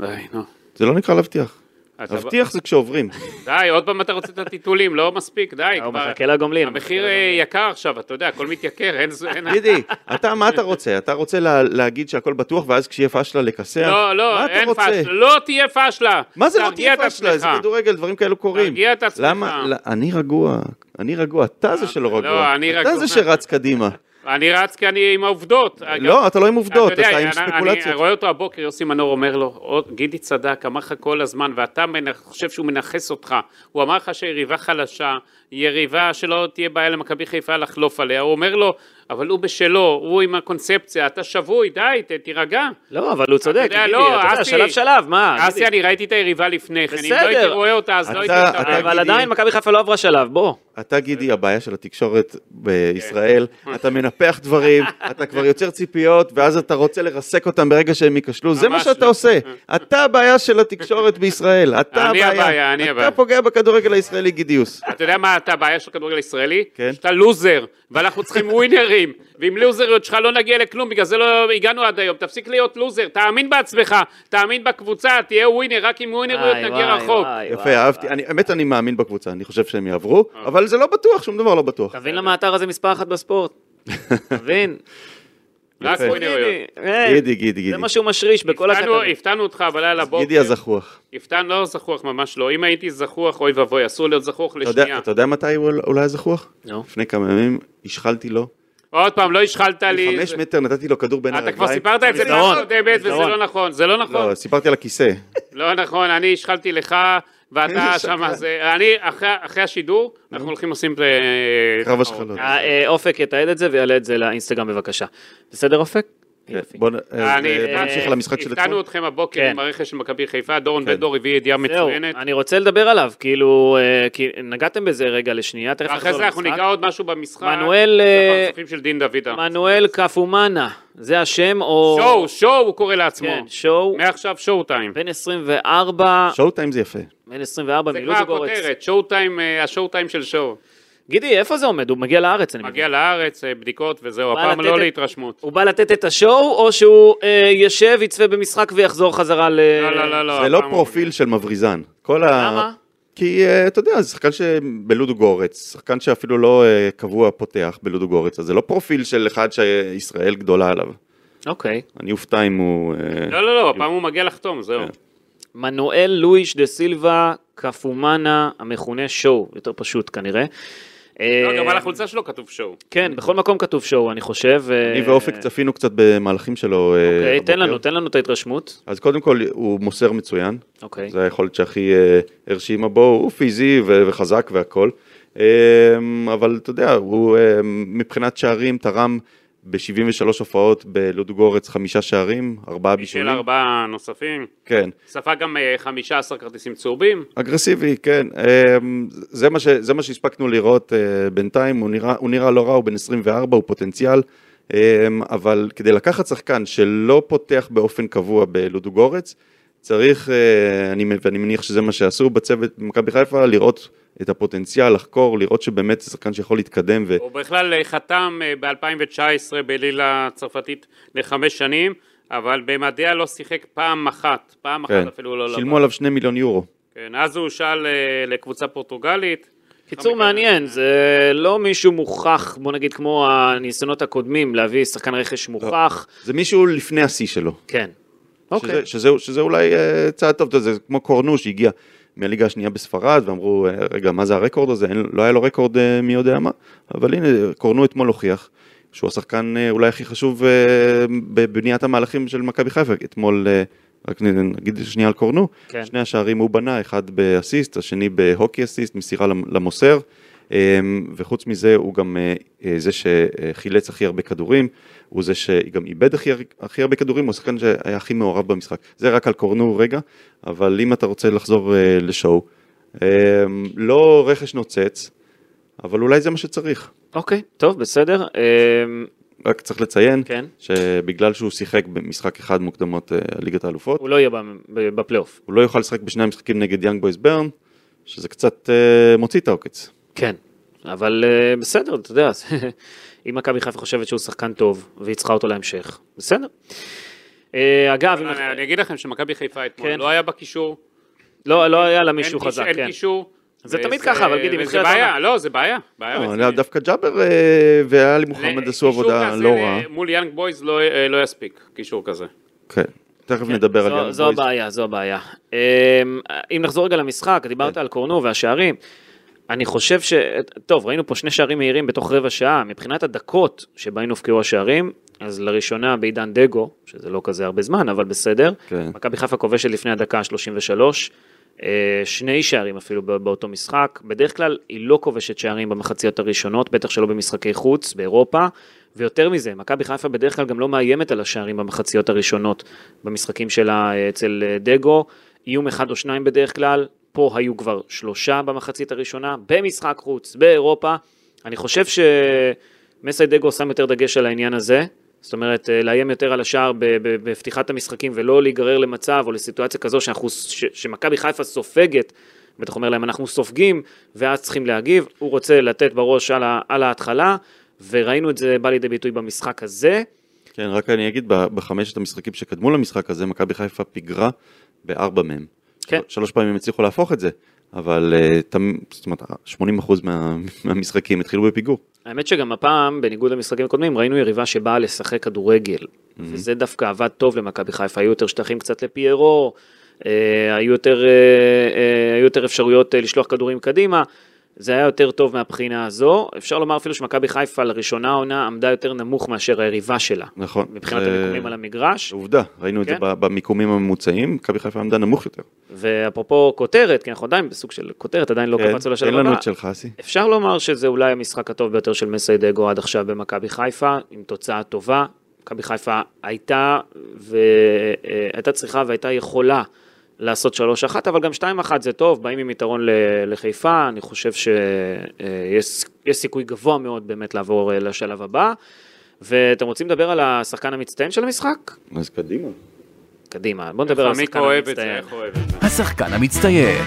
C: די, נו.
D: זה לא נקרא להבטיח.
C: אתה-
D: להבטיח זה כשעוברים.
C: די, עוד פעם אתה רוצה את הטיטולים, לא מספיק, די.
B: הוא
C: כבר-
B: מחכה לגומלין.
C: המחיר אה, יקר עכשיו, אתה יודע, הכל מתייקר, אין... זו- אין-
D: גידי, אתה, מה אתה רוצה? אתה רוצה לה, להגיד שהכל בטוח, ואז כשיהיה פשלה לכסח?
C: לא,
D: מה
C: לא,
D: אתה
C: אין
D: רוצה?
C: פשלה, לא תהיה פשלה.
D: מה זה לא
C: תרגיע
D: תהיה
C: את
D: פשלה? זה
C: עצמך.
D: כדורגל, דברים כאלה קורים.
C: תרגיע את עצמך.
D: למה? לא, אני רגוע. אני רגוע, אתה זה שלא
C: לא,
D: רגוע.
C: אני
D: אתה
C: רגוע.
D: זה שרץ קדימה.
C: אני רץ כי אני עם העובדות. אגב,
D: לא, אתה לא עם עובדות,
C: יודע,
D: אתה עם
C: אני- אני
D: ספקולציות.
C: רואה אותו הבוקר, יוסי מנור אומר לו, "עוד- גידי צדק, אמר לך כל הזמן, ואתה מנ- חושב שהוא מנכס אותך. הוא אמר לך שיריבה חלשה, יריבה שלא תהיה בעיה למכבי חיפה לחלוף עליה. הוא אומר לו, אבל הוא בשלו, הוא עם הקונספציה, אתה שבוי, די, ת- תירגע.
B: לא, אבל הוא צודק,
C: יודע,
B: גידי,
C: לא,
B: אתה יודע,
C: אסי-
B: שלב שלב,
D: אה,
B: מה?
C: אסי,
B: גידי?
C: אני ראיתי את היריבה לפני כן, אם לא
B: בסדר.
C: הייתי רואה אותה, אז לא הייתי...
D: אתה-
C: יודע.
D: אתה-
B: אבל
D: גידי-
B: עדיין מכבי חיפה לא עברה שלב, בוא.
D: אתה, גידי, הבעיה של התקשורת בישראל,
C: כן.
D: אתה מנפח דברים, אתה כבר יוצר ציפיות, ואז אתה רוצה לרסק אותם ברגע שהם ייכשלו, זה מה
C: ממש
D: שאתה
C: לא.
D: עושה. אתה הבעיה של התקשורת בישראל, אתה
C: אני
D: הבעיה.
C: הבעיה, אני הבעיה.
D: אתה פוגע בכדורגל הישראלי, גידיוס.
C: אתה יודע מה אתה הבעיה של כדורגל ישראלי?
D: כן.
C: שאתה לוזר, ואנחנו צריכים ווינרים, ועם לוזריות שלך לא נגיע לכלום, בגלל זה לא הגענו עד היום. תפסיק להיות לוזר, תאמין בעצמך, תאמין בקבוצה, תהיה ווינר, רק עם ווינריות
B: וואי,
C: נגיע
B: וואי,
C: רחוק.
B: וואי,
D: יפה,
B: וואי.
D: אהבתי. אני- האמת, אני מאמין בקבוצה, אני חושב שהם יעברו,
C: אוקיי.
D: אבל זה לא בטוח, שום דבר לא בטוח.
B: אתה מבין למה האתר הזה מספר אחת בספורט? אתה מבין?
C: רק
D: יפה.
C: ווינריות.
B: גידי, אה,
D: גידי, גידי,
B: זה
D: גידי.
B: מה שהוא משריש בכל
C: הפתענו-
B: הכתבים.
C: הפתענו אותך בלילה בוקר.
D: גידי הזחוח.
C: הפתענו, לא זחוח, ממש לא. אם הייתי זחוח, אוי ואבוי, אסור להיות זחוח
D: אתה יודע-
C: לשנייה.
D: אתה יודע מתי הוא אולי הזחוח?
B: נו.
D: לפני כמה ימים השחלתי לו,
C: עוד פעם, לא השחלת לי.
D: חמש
C: זה-
D: מטר נתתי לו כדור בין
C: אתה
D: הרגליים.
C: כבר סיפרת את זה פעם
B: מסדרון,
C: קודמת, וזה
B: מסדרון.
C: לא נכון, זה לא נכון.
D: לא, סיפרתי על הכיסא.
C: לא נכון, אני השחלתי לך, ואתה שם, זה- אני, אחרי אחרי השידור, אנחנו הולכים עושים את... אה,
D: קרב השחלות.
B: אה, אה, אופק יתעד את זה ויעלה את זה לאינסטגרם בבקשה. בסדר אופק? יופי.
D: בוא נ- אז, אה,
C: אני-
D: בוא נמשיך על המשחק של
C: הפתענו
D: אתמול.
C: אתכם הבוקר
B: כן.
C: עם הרכש של מכבי חיפה, דורון
D: כן.
C: בן דור הביא ידיעה
B: זהו,
C: מצוינת.
B: אני רוצה לדבר עליו, כאילו, אה, כי נגעתם בזה רגע לשנייה, תכף
C: אחרי
B: נחזור
C: זה אנחנו
B: למשחק.
C: ניגע עוד משהו במשחק.
B: מנואל, אה,
C: הפרצופים של דין דוידה.
B: מנואל קפומאנה, זה השם או...
C: שואו, שואו, הוא קורא לעצמו.
B: כן, שואו.
C: מעכשיו שואו טיים.
B: בן 24,
D: שואו טיים זה יפה.
B: בן 24
C: זה
B: מלוז
C: כבר
B: גורץ.
C: הכותרת, שואו טיים, אה, השואו טיים של שואו.
B: גידי, איפה זה עומד? הוא מגיע לארץ, אני מבין.
C: מגיע לארץ, אה, בדיקות וזהו,
B: בא
C: הפעם
B: לתת
C: לא
B: את-
C: להתרשמות.
B: הוא בא לתת את השואו, או שהוא אה, ישב, יצפה במשחק ויחזור חזרה ל...
C: לא, לא, לא, לא.
D: זה לא
C: הפעם הוא-
D: פרופיל של מבריזן. כל ה...
B: למה?
D: כי אה, אתה יודע, זה שחקן שבלודו גורץ, שחקן שאפילו לא אה, קבוע פותח בלודו גורץ, אז זה לא פרופיל של אחד שישראל גדולה עליו.
B: אוקיי.
D: אני אופתע אם הוא... אה,
C: לא, לא, לא, הפעם הוא מגיע לחתום, זהו.
B: מנואל לואיש דה סילבה קפומאנה, המכונה שואו, יותר פשוט כנראה.
C: לא,
B: אה,
C: גם על החולצה שלו כתוב שואו.
B: כן, בכל מקום כתוב שואו, אני חושב. אה,
D: אני ואופק צפינו קצת במהלכים שלו. אה,
B: אוקיי, תן
D: הבוקר.
B: לנו, תן לנו את ההתרשמות.
D: אז קודם כל, הוא מוסר מצוין.
B: אוקיי.
D: זו היכולת שהכי אה, הרשימה בו, הוא פיזי ו- וחזק והכול. אמ, אבל אתה יודע, הוא אמ, מבחינת שערים תרם ב-73 הופעות בלודוגורץ חמישה שערים, ארבעה
C: של
D: בישולים.
C: ארבעה נוספים.
D: כן.
C: ספג גם אה, 15 כרטיסים צהובים.
D: אגרסיבי, כן. אמ, זה מה, ש, זה מה שהספקנו לראות אה, בינתיים, הוא נראה, הוא נראה לא רע, הוא בן 24, הוא פוטנציאל, אמ, אבל כדי לקחת שחקן שלא פותח באופן קבוע בלודוגורץ, צריך, אה, אני, מ- ואני מניח שזה מה שעשו בצוות במכבי חיפה, לראות את הפוטנציאל, לחקור, לראות שבאמת זה שחקן שיכול להתקדם, ו...
C: הוא בכלל אה, חתם ב-2019 בלילה הצרפתית לחמש שנים, אבל במדעיה לא שיחק פעם אחת, פעם אחת
D: כן.
C: אפילו לא
D: שילמו עליו שני מיליון יורו.
C: כן, אז הוא הושאל אה, לקבוצה פורטוגלית. לא
B: קיצור מעניין, זה לא מישהו מוכח, בוא נגיד כמו הניסיונות הקודמים, להביא שחקן רכש מוכח,
D: זה מישהו לפני השיא שלו.
B: כן.
D: לא. שזה,
B: אוקיי.
D: שזה, שזה אולי אה, צעד טוב, אתה יודע, זה כמו קורנו שהגיע מהליגה השנייה בספרד, ואמרו, אה, רגע, מה זה הרקורד הזה? אין, לא היה לו רקורד אה, מי יודע מה, אבל הנה, קורנו אתמול הוכיח שהוא השחקן אה, אולי הכי חשוב אה, בבניית המהלכים של מכבי חיפה. אתמול, אה, רק נ- נגיד שנייה על קורנו,
B: כן.
D: שני השערים הוא בנה, אחד באסיסט, השני בהוקי אסיסט, מסירה למ- למוסר. אה, וחוץ מזה הוא גם אה, אה, זה שחילץ הכי הרבה כדורים, הוא זה שגם איבד הכי, הכי הרבה כדורים, הוא השחקן שהיה הכי מעורב במשחק. זה רק על קורנו רגע, אבל אם אתה רוצה לחזור אה, לשואו, אה, לא רכש נוצץ, אבל אולי זה מה שצריך.
B: אוקיי, טוב, בסדר. אמ,
D: רק צריך לציין,
B: כן.
D: שבגלל שהוא שיחק במשחק אחד מוקדמות אה, ליגת האלופות,
B: הוא לא יהיה ב- ב- בפלייאוף.
D: הוא לא יוכל לשחק בשני המשחקים נגד יאנג בויז ברן, שזה קצת אה, מוציא את העוקץ.
B: כן, אבל אה, בסדר, אתה יודע, זה- אם מכבי חיפה חושבת שהוא שחקן טוב, והיא צריכה אותו להמשך, בסדר. אה, אגב, אם-
C: אני אני אגיד לכם שמכבי חיפה אתמול
B: כן.
C: לא היה בקישור.
B: לא לא היה לה
C: אין
B: מישהו
C: קיש-
B: חזק,
C: אין
B: כן.
C: קישור.
B: זה
C: וזה-
B: תמיד ככה, אבל גידי,
C: וזה
B: מתחילת העונה.
C: בעיה, לא, זה בעיה. בעיה
D: לא,
C: רצינית.
D: דווקא ג'אבר אה, ואלי מוחמד
C: ל-
D: עשו עבודה
C: קישור
D: לא
C: כזה
D: רעה.
C: ל- מול יאנג בויז לא- אה, לא יספיק, קישור כזה.
D: כן, תכף נדבר על
B: זו-
D: יאנג
B: זו
D: בויז.
B: הבעיה, זו הבעיה. אמ, אם נחזור רגע למשחק,
D: כן.
B: דיברת על קורנו והשערים. אני חושב ש... טוב, ראינו פה שני שערים מהירים בתוך רבע שעה. מבחינת הדקות שבהן הובקעו השערים, אז לראשונה בעידן דגו, שזה לא כזה הרבה זמן, אבל בסדר.
D: כן.
B: מכבי חיפה כובשת לפני הדקה ה-33. אה, שני שערים אפילו בא- באותו משחק. בדרך כלל היא לא כובשת שערים במחציות הראשונות, בטח שלא במשחקי חוץ, באירופה. ויותר מזה, מכבי חיפה בדרך כלל גם לא מאיימת על השערים במחציות הראשונות במשחקים שלה אה, אצל אה, דגו. איום אחד או שניים בדרך כלל, פה היו כבר שלושה במחצית הראשונה, במשחק חוץ, באירופה. אני חושב שמסי דגו שם יותר דגש על העניין הזה, זאת אומרת, אה, לאיים יותר על השער ב- ב- בפתיחת המשחקים ולא להיגרר למצב או לסיטואציה כזו שאנחנו, ש- שמכבי חיפה סופגת, ואתה אומר להם אנחנו סופגים, ואז צריכים להגיב, הוא רוצה לתת בראש על, ה- על ההתחלה, וראינו את זה בא לידי ביטוי במשחק הזה.
D: כן, רק אני אגיד, ב- בחמשת המשחקים שקדמו למשחק הזה, מכבי חיפה פיגרה בארבע מהם.
B: כן.
D: של- שלוש פעמים הצליחו להפוך את זה, אבל אה, תמ- זאת אומרת, 80% מה- מהמשחקים התחילו בפיגור.
B: האמת שגם הפעם, בניגוד למשחקים הקודמים, ראינו יריבה שבאה לשחק כדורגל.
D: Mm-hmm.
B: וזה דווקא עבד טוב למכבי חיפה, היו יותר שטחים קצת לפיירו, אה, היו יותר, אה, אה, היו יותר אפשרויות אה, לשלוח כדורים קדימה. זה היה יותר טוב מהבחינה הזו. אפשר לומר אפילו שמכבי חיפה לראשונה העונה עמדה יותר נמוך מאשר היריבה שלה.
D: נכון.
B: מבחינת
D: זה-
B: המיקומים על המגרש.
D: עובדה, ראינו את זה
B: כן.
D: ב- במיקומים הממוצעים, מכבי חיפה עמדה נמוך יותר.
B: ואפרופו כותרת, כי אנחנו עדיין בסוג של כותרת, עדיין לא
D: כן,
B: קפצנו לשלב
D: תן
B: הבא.
D: לנו את שלך, אסי.
B: אפשר לומר שזה אולי המשחק הטוב ביותר של מסיידגו עד עכשיו במכבי חיפה, עם תוצאה טובה. מכבי חיפה הייתה, ו... אה, הייתה צריכה והייתה יכולה לעשות 3-1, אבל גם 2-1 זה טוב, באים עם יתרון ל... לחיפה, אני חושב שיש יש סיכוי גבוה מאוד באמת לעבור אה, לשלב הבא. ואתם רוצים לדבר על השחקן המצטיין של המשחק?
D: אז קדימה.
B: קדימה, בואו נדבר על
C: עמיקו
B: השחקן
C: אוהב את זה, נכון.
B: המצטיין.
C: איך אוהב את זה.
A: השחקן המצטיין.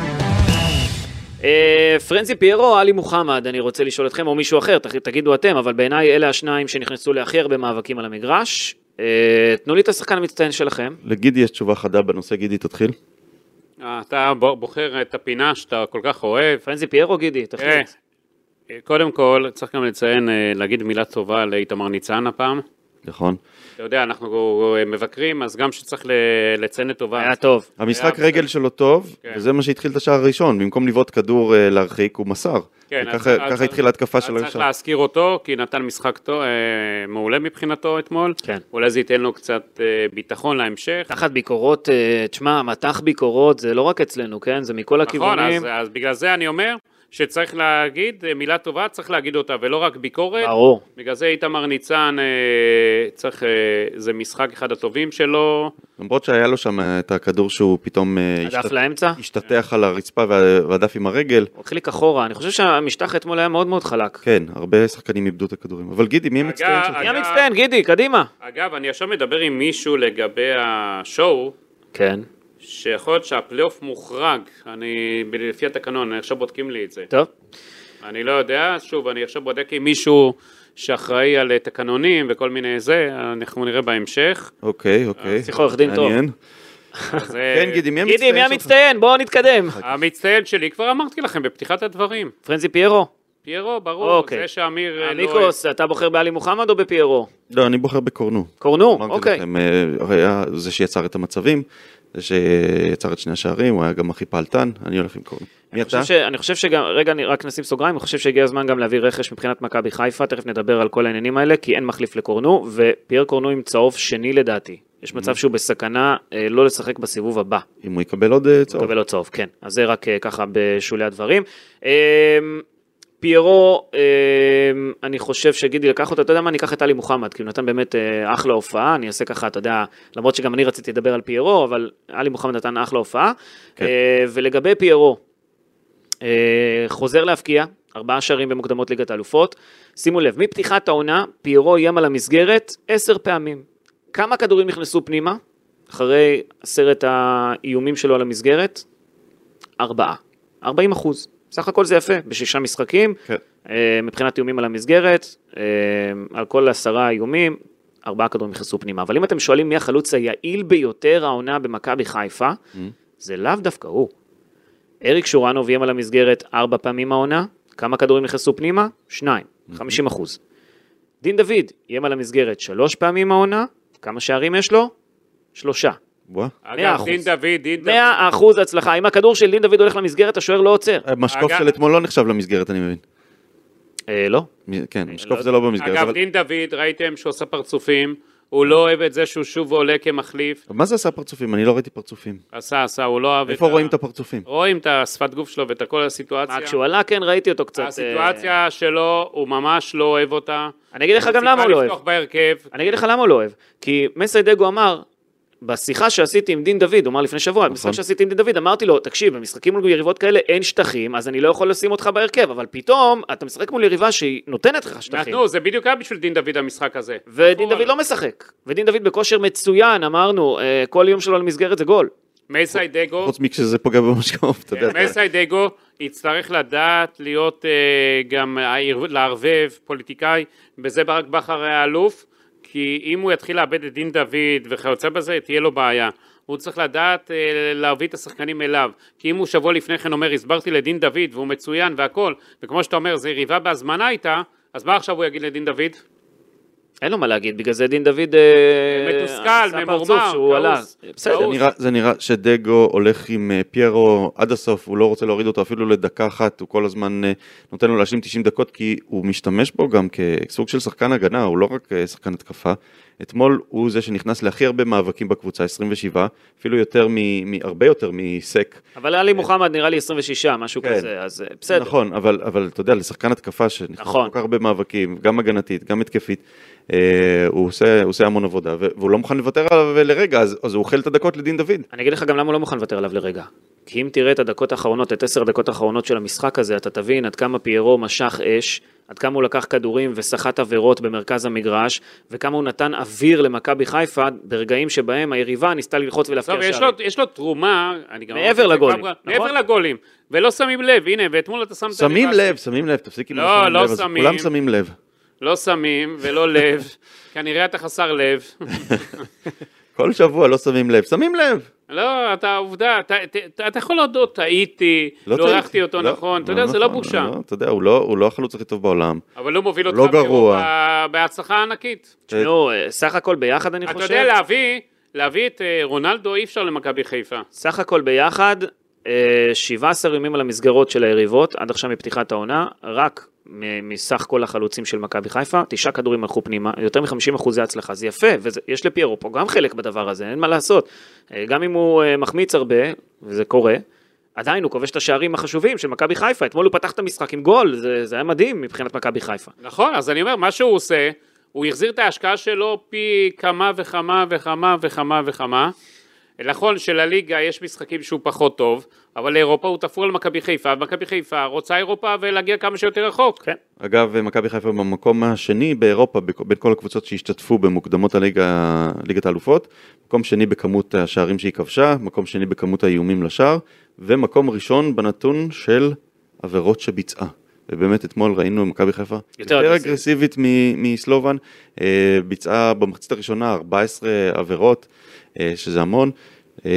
B: אה, פרנזי פיירו או עלי מוחמד, אני רוצה לשאול אתכם, או מישהו אחר, תח- תגידו אתם, אבל בעיניי אלה השניים שנכנסו להכי הרבה מאבקים על המגרש. אה, תנו לי את השחקן המצטיין שלכם.
D: לגידי יש תשובה חדה בנושא, גידי, תתחיל.
C: אה, אתה ב- בוחר את הפינה שאתה כל כך אוהב.
B: פרנזי פיירו, גידי,
C: תראה,
B: תחליט.
C: קודם כל, צריך גם לציין, אה, להגיד מילה טובה לאיתמר ניצן הפעם.
D: נכון.
B: אה,
C: אתה יודע, אנחנו אה, מבקרים, אז גם שצריך ל- לציין לטובה.
B: היה טוב.
D: המשחק
C: היה-
D: רגל שלו טוב,
C: כן.
D: וזה מה שהתחיל את השער הראשון, במקום לבעוט כדור אה, להרחיק, הוא מסר.
C: כן, אז-
D: וככה
C: אז
D: ככה
C: צריך-
D: התחילה ההתקפה שלו
C: אז צריך
D: ישר.
C: להזכיר אותו, כי נתן משחק טוב, אה, מעולה מבחינתו אתמול.
B: כן.
C: אולי זה ייתן לו קצת אה, ביטחון להמשך.
B: תחת ביקורות, אה, תשמע, מתח ביקורות זה לא רק אצלנו, כן? זה מכל
C: נכון,
B: הכיוונים.
C: אז, אז בגלל זה אני אומר שצריך להגיד אה, מילה טובה, צריך להגיד אותה, ולא רק ביקורת.
B: ברור.
D: אה,
C: בגלל זה איתמר ניצן, אה, צריך, אה, זה משחק אחד הטובים שלו.
D: למרות שהיה לו שם אה, את הכדור שהוא פתאום אה,
B: הדף
D: השת-
B: לאמצע?
D: השתטח על הרצפה וה- והדף עם הרגל.
B: הוא החליק אחורה, אני חושב שהמשטח אתמול היה מאוד מאוד חלק.
D: כן, הרבה שחקנים איבדו את הכדורים. אבל גידי, מי המצטיין
C: אה,
D: שלך?
B: מי המצטיין, גידי, קדימה.
C: אגב, אני עכשיו מדבר עם מישהו לגבי השואו,
B: כן.
C: שיכול להיות שהפלייאוף מוחרג, אני, ב- לפי התקנון, עכשיו בודקים לי את זה.
B: טוב.
C: אני לא יודע, שוב, אני עכשיו בודק עם מישהו שאחראי על אה, תקנונים וכל מיני זה, אנחנו נראה בהמשך.
D: אוקיי, אוקיי.
B: צריך עורך דין טוב.
D: מעניין.
C: אז, אה,
D: כן, גידי, מי המצטיין שלך? אה,
B: גידי, מי המצטיין? בואו נתקדם.
C: המצטיין שלי, כבר אמרתי לכם בפתיחת הדברים.
B: פרנזי פיירו?
C: פיירו, ברור,
B: אוקיי.
C: זה שאמיר... אה, לא-
B: עמיקוס, אתה בוחר בעלי מוחמד או בפיירו?
D: לא, אני בוחר בקורנו.
B: קורנו?
D: אמרתי
B: אוקיי.
D: לכם, אה, היה זה שיצר את המצבים, זה שיצר את שני השערים, הוא היה גם הכי פעלתן, אני הולך עם קורנו. מי
B: אני
D: אתה?
B: חושב ש- אני חושב שגם, רגע, אני רק נשים סוגריים, אני חושב שהגיע הזמן גם להביא רכש מבחינת מכבי חיפה, תכף נדבר על כל העניינים האלה, כי אין מחליף לקורנו, ופייר קורנו עם צהוב שני לדעתי. יש
D: Mm-hmm.
B: מצב שהוא בסכנה אה, לא לשחק בסיבוב הבא.
D: אם הוא יקבל עוד אה,
B: הוא
D: צהוב.
B: מקבל עוד צהוב, כן. אז זה רק אה, ככה בשולי הדברים. אה, פיירו, אה, אני חושב שגידי לקח אותו, אתה יודע מה, אני אקח את טלי מוחמד, כי הוא נתן באמת אה, אחלה הופעה, אני אעשה ככה, אתה יודע, למרות שגם אני רציתי לדבר על פיירו, אבל עלי מוחמד נתן אחלה הופעה.
D: כן.
B: אה, ולגבי פיירו, אה, חוזר להבקיע, ארבעה שערים במוקדמות ליגת האלופות. שימו לב, מפתיחת העונה, פיירו איים על המסגרת עשר פעמים. כמה כדורים נכנסו פנימה אחרי עשרת האיומים שלו על המסגרת? ארבעה. ארבעים אחוז. סך הכל זה יפה, בשישה משחקים,
D: כן.
B: אה, מבחינת איומים על המסגרת, אה, על כל עשרה איומים, ארבעה כדורים נכנסו פנימה. אבל אם אתם שואלים מי החלוץ היעיל ביותר העונה במכבי חיפה, זה לאו דווקא הוא. אריק שורנוב איים על המסגרת ארבע פעמים העונה, כמה כדורים נכנסו פנימה? שניים, 50 אחוז. דין דוד איים על המסגרת שלוש פעמים העונה, כמה שערים יש לו? שלושה.
D: וואה.
B: מאה
C: לא- אגב,
B: אחוז.
C: דין דוד, דין דוד.
B: 100 אחוז הצלחה, אם הכדור של דין דוד הולך למסגרת, השוער לא עוצר.
D: המשקוף
C: אגב-
D: של אתמול לא נחשב למסגרת, אני מבין.
B: אה, לא.
D: מ- כן, משקוף
B: לא-
D: זה לא במסגרת.
C: אגב,
D: אבל-
C: דין דוד, ראיתם שהוא עושה פרצופים, הוא לא אוהב את זה שהוא שוב עולה כמחליף.
D: מה זה עשה פרצופים? אני לא ראיתי פרצופים.
C: עשה, עשה, הוא לא אהב את
D: איפה רואים את הפרצופים?
C: רואים את השפת גוף שלו ואת כל הסיטואציה.
B: רק שהוא עלה, כן, ראיתי אותו קצת. אה,
C: הסיטואציה שלו, הוא ממש לא אוהב אותה.
B: אני אגיד לך גם למה הוא לא אוהב.
C: לפתוח בהרכב.
B: אני אגיד לך למה הוא לא אוהב. כי מסיידגו אמר, בשיחה שעשיתי עם דין דוד, הוא אמר לפני שבוע, במשחק שעשיתי עם דין דוד, אמרתי לו, תקשיב, במשחקים מול יריבות כאלה אין שטחים, אז אני לא יכול לשים אותך בהרכב, אבל פתאום אתה משחק מול יריבה שהיא נותנת לך שטחים.
C: נתנו, זה בדיוק היה בשביל דין דוד המשחק הזה.
B: ודין
C: אורה.
B: דוד לא משחק, ודין דוד בכושר מצוין, אמרנו, אה, כל איום שלו על מסגרת זה גול.
C: מסי דגו,
D: חוץ מכשזה פוגע במשקוף,
B: כן,
D: אתה יודע. אתה-
C: מסי דגו יצטרך לדעת להיות אה, גם, העיר- לערבב פוליטיקאי, בזה ברק בכר היה אלוף, כי אם הוא יתחיל לאבד את דין דוד וכיוצא בזה, תהיה לו בעיה. הוא צריך לדעת אה, להביא את השחקנים אליו, כי אם הוא שבוע לפני כן אומר, הסברתי לדין דוד והוא מצוין והכל, וכמו שאתה אומר, זה יריבה בהזמנה איתה, אז מה עכשיו הוא יגיד לדין דוד?
B: אין לו מה להגיד, בגלל זה דין דוד... אה,
C: מתוסכל,
B: עשה
C: ממורמר,
B: פרצוף שהוא עלה.
C: כעוס.
B: בסדר,
D: זה נראה- זה נראה שדגו הולך עם אה, פיירו עד הסוף, הוא לא רוצה להוריד אותו אפילו לדקה אחת, הוא כל הזמן אה, נותן לו להשלים 90 דקות, כי הוא משתמש בו גם כסוג של שחקן הגנה, הוא לא רק אה, שחקן התקפה. אתמול הוא זה שנכנס להכי הרבה מאבקים בקבוצה, 27, אפילו יותר, מ- מ- הרבה יותר מסק.
B: אבל עלי מוחמד נראה לי 26, משהו
D: כן.
B: כזה, אז אה, בסדר.
D: נכון, אבל, אבל אתה יודע, לשחקן התקפה שנכנס
B: נכון.
D: נכון. כל כך הרבה מאבקים, גם הגנתית, גם התקפית, אה, הוא, עושה, הוא עושה המון עבודה, ו- והוא לא מוכן לוותר עליו לרגע, אז, אז הוא אוכל את הדקות לדין דוד.
B: אני אגיד לך גם למה הוא לא מוכן לוותר עליו לרגע. כי אם תראה את הדקות האחרונות, את עשר הדקות האחרונות של המשחק הזה, אתה תבין עד כמה פיירו משך אש, עד כמה הוא לקח כדורים וסחט עבירות במרכז המגרש, וכמה הוא נתן אוויר למכבי חיפה ברגעים שבהם היריבה ניסתה ללחוץ ולהפקיע
C: טוב, יש
B: שערים.
C: לו, יש לו תרומה, אני גם...
B: מעבר
C: אמרתי את זה
B: לגולים,
C: כבר-
B: נכון?
C: מעבר לגולים, ולא שמים לב, הנה, ואתמול אתה שמת...
D: שמים
C: לב,
D: לב, שמים לב, תפסיק עם
C: לא,
D: השמים
C: לא
D: לב, אז
C: שמים.
D: כולם שמים לב.
C: לא שמים ולא לב, כנראה אתה חסר לב.
D: כל שבוע לא שמים לב, שמים לב.
C: לא, אתה עובדה, אתה, ת- ת- אתה יכול להודות, טעיתי, לא
D: צריך.
C: ערכתי אותו
D: לא,
C: נכון, אתה
D: לא
C: יודע, זה לא
D: נכון,
C: בושה,
D: אתה יודע, הוא לא- הוא לא החלוץ הכי טוב בעולם.
C: אבל הוא מוביל אותך
D: לא גרוע.
C: באירופה בהצלחה ענקית.
B: תשמעו, אה, סך הכל ביחד אני
C: אתה
B: חושב,
C: יודע, להביא, להביא את אה, רונלדו אי אפשר למכבי חיפה.
B: סך הכל ביחד, אה, 17 איומים על המסגרות של היריבות, עד עכשיו מפתיחת העונה, רק מ- מסך כל החלוצים של מכבי חיפה, תשעה כדורים הלכו פנימה, יותר מ-50 אחוזי הצלחה, זה יפה, ויש לפיירו פה גם חלק בדבר הזה, אין מה לעשות. אה, גם אם הוא אה, מחמיץ הרבה, וזה קורה, עדיין הוא כובש את השערים החשובים של מכבי חיפה, אתמול הוא פתח את המשחק עם גול, זה, זה היה מדהים מבחינת מכבי חיפה.
C: נכון, אז אני אומר, מה שהוא עושה, הוא החזיר את ההשקעה שלו פי כמה וכמה וכמה וכמה וכמה. נכון שלליגה יש משחקים שהוא פחות טוב, אבל לאירופה הוא תפור על מכבי חיפה, ומכבי חיפה רוצה אירופה ולהגיע כמה שיותר רחוק.
B: כן.
D: אגב, מכבי חיפה במקום השני באירופה, בכ- בין כל הקבוצות שהשתתפו במוקדמות הליגה, ליגת האלופות, מקום שני בכמות השערים שהיא כבשה, מקום שני בכמות האיומים לשער, ומקום ראשון בנתון של עבירות שביצעה. ובאמת אתמול ראינו מכבי חיפה יותר, יותר
B: אגרסיבית.
D: אגרסיבית מ- מסלובן, אה, ביצעה במחצית הראשונה 14 עבירות, אה, שזה המון. אה,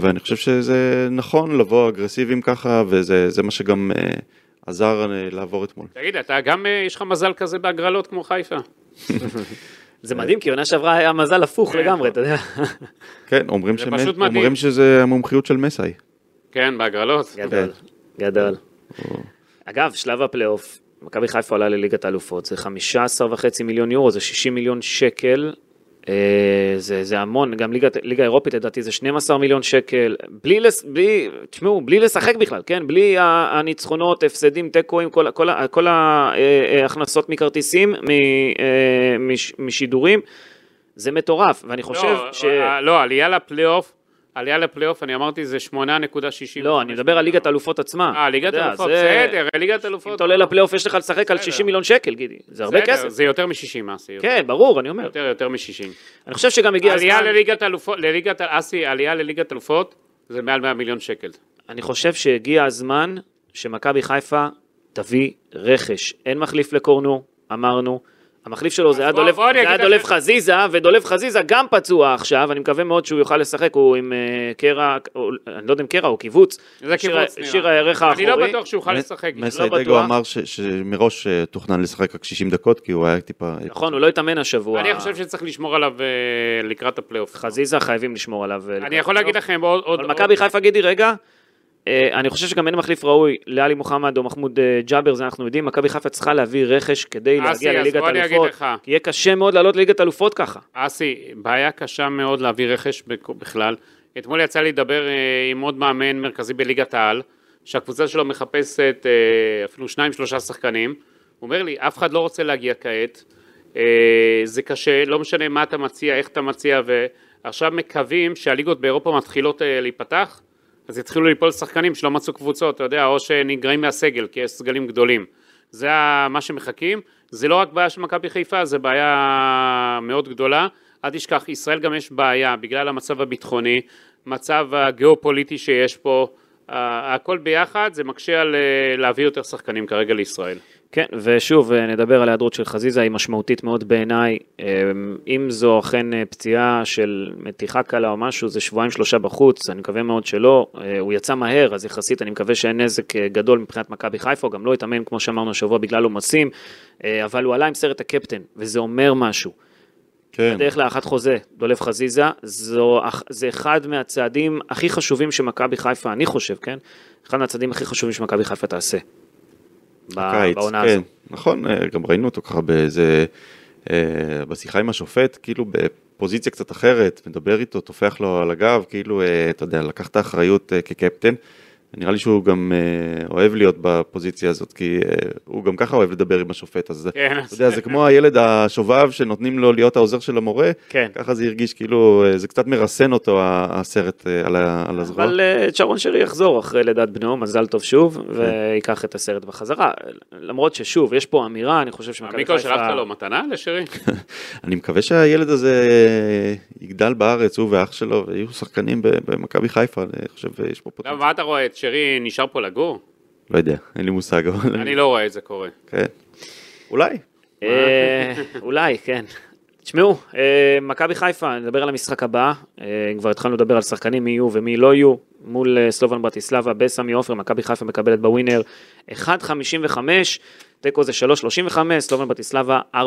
D: ואני חושב שזה נכון לבוא אגרסיביים ככה, וזה זה מה שגם אה, עזר אה, לעבור אתמול.
C: תגיד, אתה גם, אה, יש לך מזל כזה בהגרלות כמו חיפה.
B: זה מדהים, כי עונה שעברה היה מזל הפוך
C: כן.
B: לגמרי, אתה יודע.
D: כן, אומרים,
C: זה
D: שמס...
C: פשוט מדהים.
D: אומרים שזה המומחיות של מסאי.
C: כן, בהגרלות.
B: גדול, גדול. כן. Mm. אגב, שלב הפלייאוף, מכבי חיפה עולה לליגת האלופות, זה 15 וחצי מיליון יורו, זה 60 מיליון שקל, אה, זה, זה המון, גם ליגה, ליגה אירופית לדעתי זה 12 מיליון שקל, בלי, לס, בלי, תשמעו, בלי לשחק בכלל, כן? בלי ה- הניצחונות, הפסדים, תיקואים, כל, ה- כל, ה- כל ההכנסות מכרטיסים, מ, אה, מש, משידורים, זה מטורף, ואני חושב
C: לא,
B: ש...
C: אה, לא, עלייה לפלייאוף, עלייה לפלייאוף, אני אמרתי זה 8.60.
B: לא, אני מדבר על ליגת האלופות עצמה.
C: אה, ליגת
B: אתה יודע,
C: אלופות,
B: זה-
C: בסדר, ליגת
B: אם
C: אלופות.
B: אתה עולה לפלייאוף יש לך לשחק על
C: בסדר.
B: 60 מיליון שקל, גידי. זה הרבה
C: בסדר,
B: כסף.
C: זה אוקיי. יותר מ-60, אסי.
B: כן, ברור, אני אומר.
C: יותר, יותר מ-60.
B: אני חושב שגם הגיע
C: עלייה
B: הזמן,
C: לליגת אלופות, לליגת, אסי, עלייה לליגת אלופות, זה מעל 100 מיליון שקל.
B: אני חושב שהגיע הזמן שמכבי חיפה תביא רכש. אין מחליף לקורנו, אמרנו. המחליף שלו זה היה
C: בוא-
B: דולב-
C: בוא אני
B: זה היה
C: אגיד
B: דולב
C: לכם-
B: חזיזה, ודולב חזיזה גם פצוע עכשיו, אני מקווה מאוד שהוא יוכל לשחק, הוא עם אה, קרע, או- אני לא יודע אם קרע או קיבוץ.
C: זה
B: שיר-
C: קיבוץ, נראה.
B: שיר הירך האחורי.
C: אני לא בטוח שהוא יוכל
D: מ-
C: לשחק.
D: מסאי
B: לא
D: דגו
B: בטוח.
D: אמר ש... שמראש אה, תוכנן לשחק רק 60 דקות, כי הוא היה טיפה...
B: נכון, הוא לא התאמן השבוע.
C: אני חושב שצריך לשמור עליו אה, לקראת הפלייאוף.
B: חזיזה חייבים לשמור עליו. אה, לקראת
C: אני יכול להגיד
B: הסוף.
C: לכם עוד... עוד-
B: אבל מכבי חיפה, גידי, רגע, אה, אני חושב שגם אין מחליף ראוי לאלי מוחמד או מחמוד אה, ג'אבר, זה אנחנו יודעים, מכבי חיפה צריכה להביא רכש כדי
C: אסי,
B: להגיע
C: אה, אז
B: לליגת
C: בוא אני אגיד
B: אלופות,
C: לך.
B: כי יהיה קשה מאוד לעלות לליגת אלופות ככה.
C: אסי, בעיה קשה מאוד להביא רכש בכ- בכלל. אתמול יצא לי לדבר אה, עם עוד מאמן מרכזי בליגת העל, שהקבוצה שלו מחפשת אה, אפילו שניים שלושה שחקנים. הוא אומר לי, אף אחד לא רוצה להגיע כעת, אה, זה קשה, לא משנה מה אתה מציע, איך אתה מציע, ועכשיו מקווים שהליגות באירופה מתחילות אה, להיפתח, אז יתחילו ליפול שחקנים שלא מצאו קבוצות, אתה יודע, או שנגרעים מהסגל, כי יש סגלים גדולים. זה ה- מה שמחכים. זה לא רק בעיה של מכבי חיפה, זה בעיה מאוד גדולה. אל תשכח, ישראל גם יש בעיה בגלל המצב הביטחוני, מצב הגיאופוליטי שיש פה, ה- הכל ביחד, זה מקשה על אה, להביא יותר שחקנים כרגע לישראל.
B: כן, ושוב, אה, נדבר על ההיעדרות של חזיזה, היא משמעותית מאוד בעיניי. אה, אם זו אכן אה, פציעה של מתיחה קלה או משהו, זה שבועיים שלושה בחוץ, אני מקווה מאוד שלא. אה, הוא יצא מהר, אז יחסית אני מקווה שאין נזק אה, גדול מבחינת מכבי חיפה, הוא גם לא התאמן, כמו שאמרנו השבוע, בגלל עומסים, אה, אבל הוא עלה עם סרט הקפטן, וזה אומר משהו.
D: כן.
B: הדרך להארכת חוזה, דולב חזיזה, זו, אח- זה אחד מהצעדים הכי חשובים שמכבי חיפה, אני חושב, כן? אחד מהצעדים הכי חשובים שמכבי חיפה תעשה. ב-
D: קיץ,
B: בעונה
D: כן,
B: הזו.
D: נכון, אה, גם ראינו אותו ככה באיזה, אה, בשיחה עם השופט, כאילו בפוזיציה קצת אחרת, מדבר איתו, טופח לו על הגב, כאילו, אה, אתה יודע, לקח את האחריות אה, כקפטן. נראה לי שהוא גם אה, אוהב להיות בפוזיציה הזאת, כי אה, הוא גם ככה אוהב לדבר עם השופט, אז
C: כן,
D: אתה יודע, זה כמו הילד השובב שנותנים לו להיות העוזר של המורה,
B: כן.
D: ככה זה הרגיש, כאילו, אה, זה קצת מרסן אותו, ה- הסרט אה, על ה- על הזרוע.
B: אבל אה, שרון שרי יחזור אחרי לידת בנו, מזל טוב שוב, וייקח את הסרט בחזרה. למרות ששוב, יש פה אמירה, אני חושב שמכבי
C: המיקרו שלחת
B: חיפה...
C: לו מתנה לשרי?
D: אני מקווה שהילד הזה יגדל בארץ, הוא ואח שלו, ויהיו שחקנים ב- במכבי חיפה, אני חושב שיש פה
C: למה,
D: פוטנציאל.
C: מה אתה רואה, את שרי נשאר פה לגור?
D: לא יודע, אין לי מושג, אבל...
C: אני לא רואה את זה קורה.
D: כן. אולי.
B: אה, אולי, כן. תשמעו, אה, מכבי חיפה, נדבר על המשחק הבא. אה, כבר התחלנו לדבר על שחקנים מי יהיו ומי לא יהיו. מול אה, סלובן ברטיסלבה בסמי עופר, מכבי חיפה מקבלת בווינר 1.55, תיקו זה 3.35, סלובן ברטיסלבה 4.60.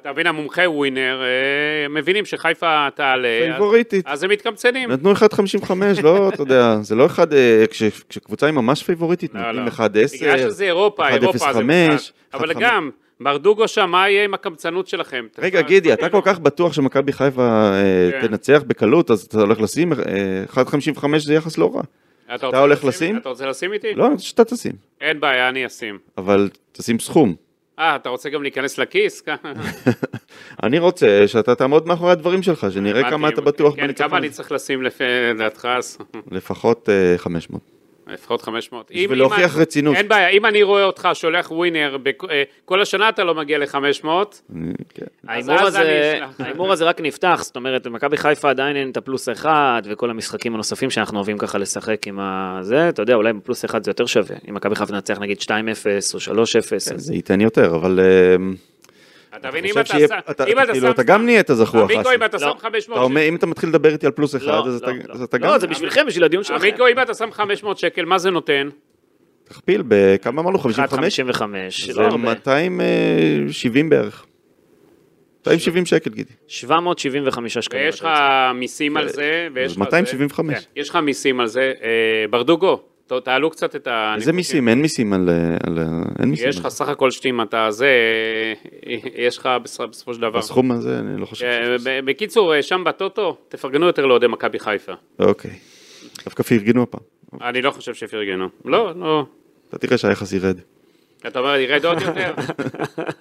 C: אתה מבין, המומחה ווינר, אה, מבינים שחיפה תעלה, אז-
D: פייבוריטית.
C: אז הם מתקמצנים.
D: נתנו 1.55, לא, אתה יודע, זה לא אחד, אה, כש- כשקבוצה היא ממש פייבוריטית, נותנים 1.10.
C: לא, בגלל שזה אירופה, אירופה זה
D: 1.05,
C: מושג. אבל
D: 1.5.
C: גם, ברדוגו שם, מה יהיה עם הקמצנות שלכם?
D: רגע, גידי, אתה כל כך בטוח שמכבי חיפה אה,
C: כן.
D: תנצח בקלות, אז אתה הולך לשים אה, 1.55 זה יחס לא רע.
C: אתה
D: אתה
C: רוצה
D: הולך לשים?
C: אתה רוצה לשים איתי?
D: לא, אני רוצה שאתה תשים,
C: אין בעיה, אני אשים.
D: אבל תשים סכום.
C: אה, אתה רוצה גם להיכנס לכיס? ככה.
D: אני רוצה שאתה תעמוד מאחורי הדברים שלך, שנראה כמה אתה בטוח
C: כן, כמה
D: בניצחון.
C: אני צריך לשים לפי דעתך אז?
D: לפחות אה, 500.
C: לפחות 500. אם- כן.
D: בשביל
C: אם
D: להוכיח
C: אני-
D: רצינות.
C: אין בעיה, אם אני רואה אותך שולח ווינר, בכ- אה, כל השנה אתה לא מגיע ל-500,
D: אני- כן.
C: אז
B: ההימור
C: אז אני
B: הזה,
C: אשלח.
B: ההימור הזה רק נפתח, זאת אומרת, למכבי חיפה עדיין אין את הפלוס אחד, וכל המשחקים הנוספים שאנחנו אוהבים ככה לשחק עם ה... זה, אתה יודע, אולי בפלוס אחד זה יותר שווה. אם מכבי חיפה תנצח נגיד 2-0 או 3-0, אז...
D: זה ייתן יותר, אבל... אה,
C: אתה מבין,
D: אני
C: אם
D: חושב
C: אתה
D: שיהיה-
C: שם-
D: אתה-
C: אם אתה
D: כאילו,
C: שם...
D: אתה גם נהיית זכוח
C: המיקרו,
D: אסי.
C: אם אתה
B: לא.
C: שם
D: אתה
C: 500
D: אומר, אם אתה מתחיל לדבר איתי על פלוס אחד,
B: לא,
D: אז אתה-
B: לא, לא.
D: אז אתה גם...
B: לא, זה בשבילכם, בשביל הדיון
C: שקל,
B: שלכם.
C: המיקרו, אם אתה שם 500 שקל, מה זה נותן?
D: תכפיל בכמה אמרנו? 55?
B: 55, לא
D: זה
B: הרבה.
D: 270 בערך. 270 שקל, גידי.
B: 775 שקלים.
C: ויש לך מיסים על זה, ויש
D: אז
C: לך זה.
D: 275.
C: כן, יש לך מיסים על זה. אה, ברדוגו, ת- תעלו קצת את ה...
D: איזה מיסים? אין מיסים על... אה, על- אין מיסים.
C: יש
D: על-
C: לך סך הכל שאם אתה זה, אה, יש לך בס- בסופו של דבר.
D: בסכום הזה, אני לא חושב
C: אה,
D: ש...
C: ב- בקיצור, אה, שם בטוטו, תפרגנו יותר לאוהדי מכבי חיפה.
D: אוקיי. דווקא פרגנו הפעם.
C: אני לא חושב שפרגנו. לא, לא.
D: אתה תראה שהיחס ירד.
C: אתה אומר, ירד עוד יותר?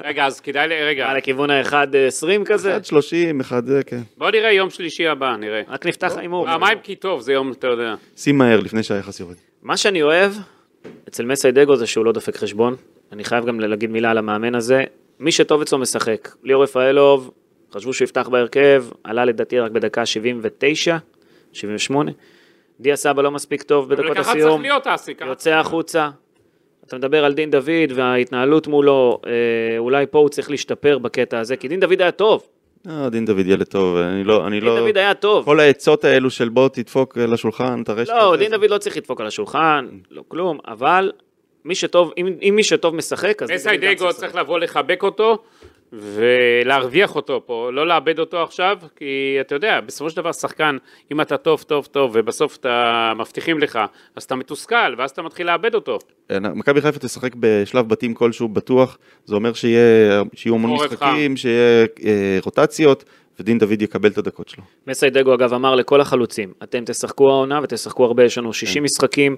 C: רגע, אז כדאי, ל- רגע,
B: מה, לכיוון ה-1.20 כזה?
D: 1.30, 1 זה, כן.
C: בוא נראה יום שלישי הבא, נראה.
B: רק נפתח ההימור.
C: פעמיים כי טוב, זה יום, אתה יודע.
D: שים מהר לפני שהיחס יורד.
B: מה שאני אוהב אצל מסיידגו זה שהוא לא דופק חשבון. אני חייב גם להגיד מילה על המאמן הזה. מי שטוב אצלו משחק. ליאור רפאלוב, חשבו שהוא יפתח בהרכב, עלה לדעתי רק בדקה 79, 78. דיה סבא לא מספיק טוב בדקות
C: וככה צריך
B: הסיום,
C: להיות אסי, ככה.
B: יוצא החוצה. אתה מדבר על דין דוד וההתנהלות מולו, אה, אולי פה הוא צריך להשתפר בקטע הזה, כי דין דוד היה טוב.
D: אה, דין דוד ילד טוב, אני לא... אני
B: דין
D: לא...
B: דוד היה טוב.
D: כל העצות האלו של בוא תדפוק אה, לשולחן, תראה שאתה...
B: לא,
D: זה-
B: דין
D: זה-
B: דוד לא צריך לדפוק על השולחן, לא כלום, אבל מי שטוב, אם, אם מי שטוב משחק, אז... דין דוד גם
C: מסיידגו צריך לבוא לחבק אותו ולהרוויח אותו פה, לא לאבד אותו עכשיו, כי אתה יודע, בסופו של דבר שחקן, אם אתה טוב, טוב, טוב, ובסוף אתה מבטיחים לך, אז אתה מתוסכל, ואז אתה מתחיל לאבד אותו.
D: אה, מכבי חיפה תשחק בשלב בתים כלשהו בטוח, זה אומר שיהיה- שיהיו המון
C: עורף
D: משחקים, שיהיה אה, רוטציות, ודין דוד יקבל את הדקות שלו.
B: מסיידגו אגב אמר לכל החלוצים, אתם תשחקו העונה ותשחקו הרבה, יש לנו
D: כן.
B: 60 משחקים,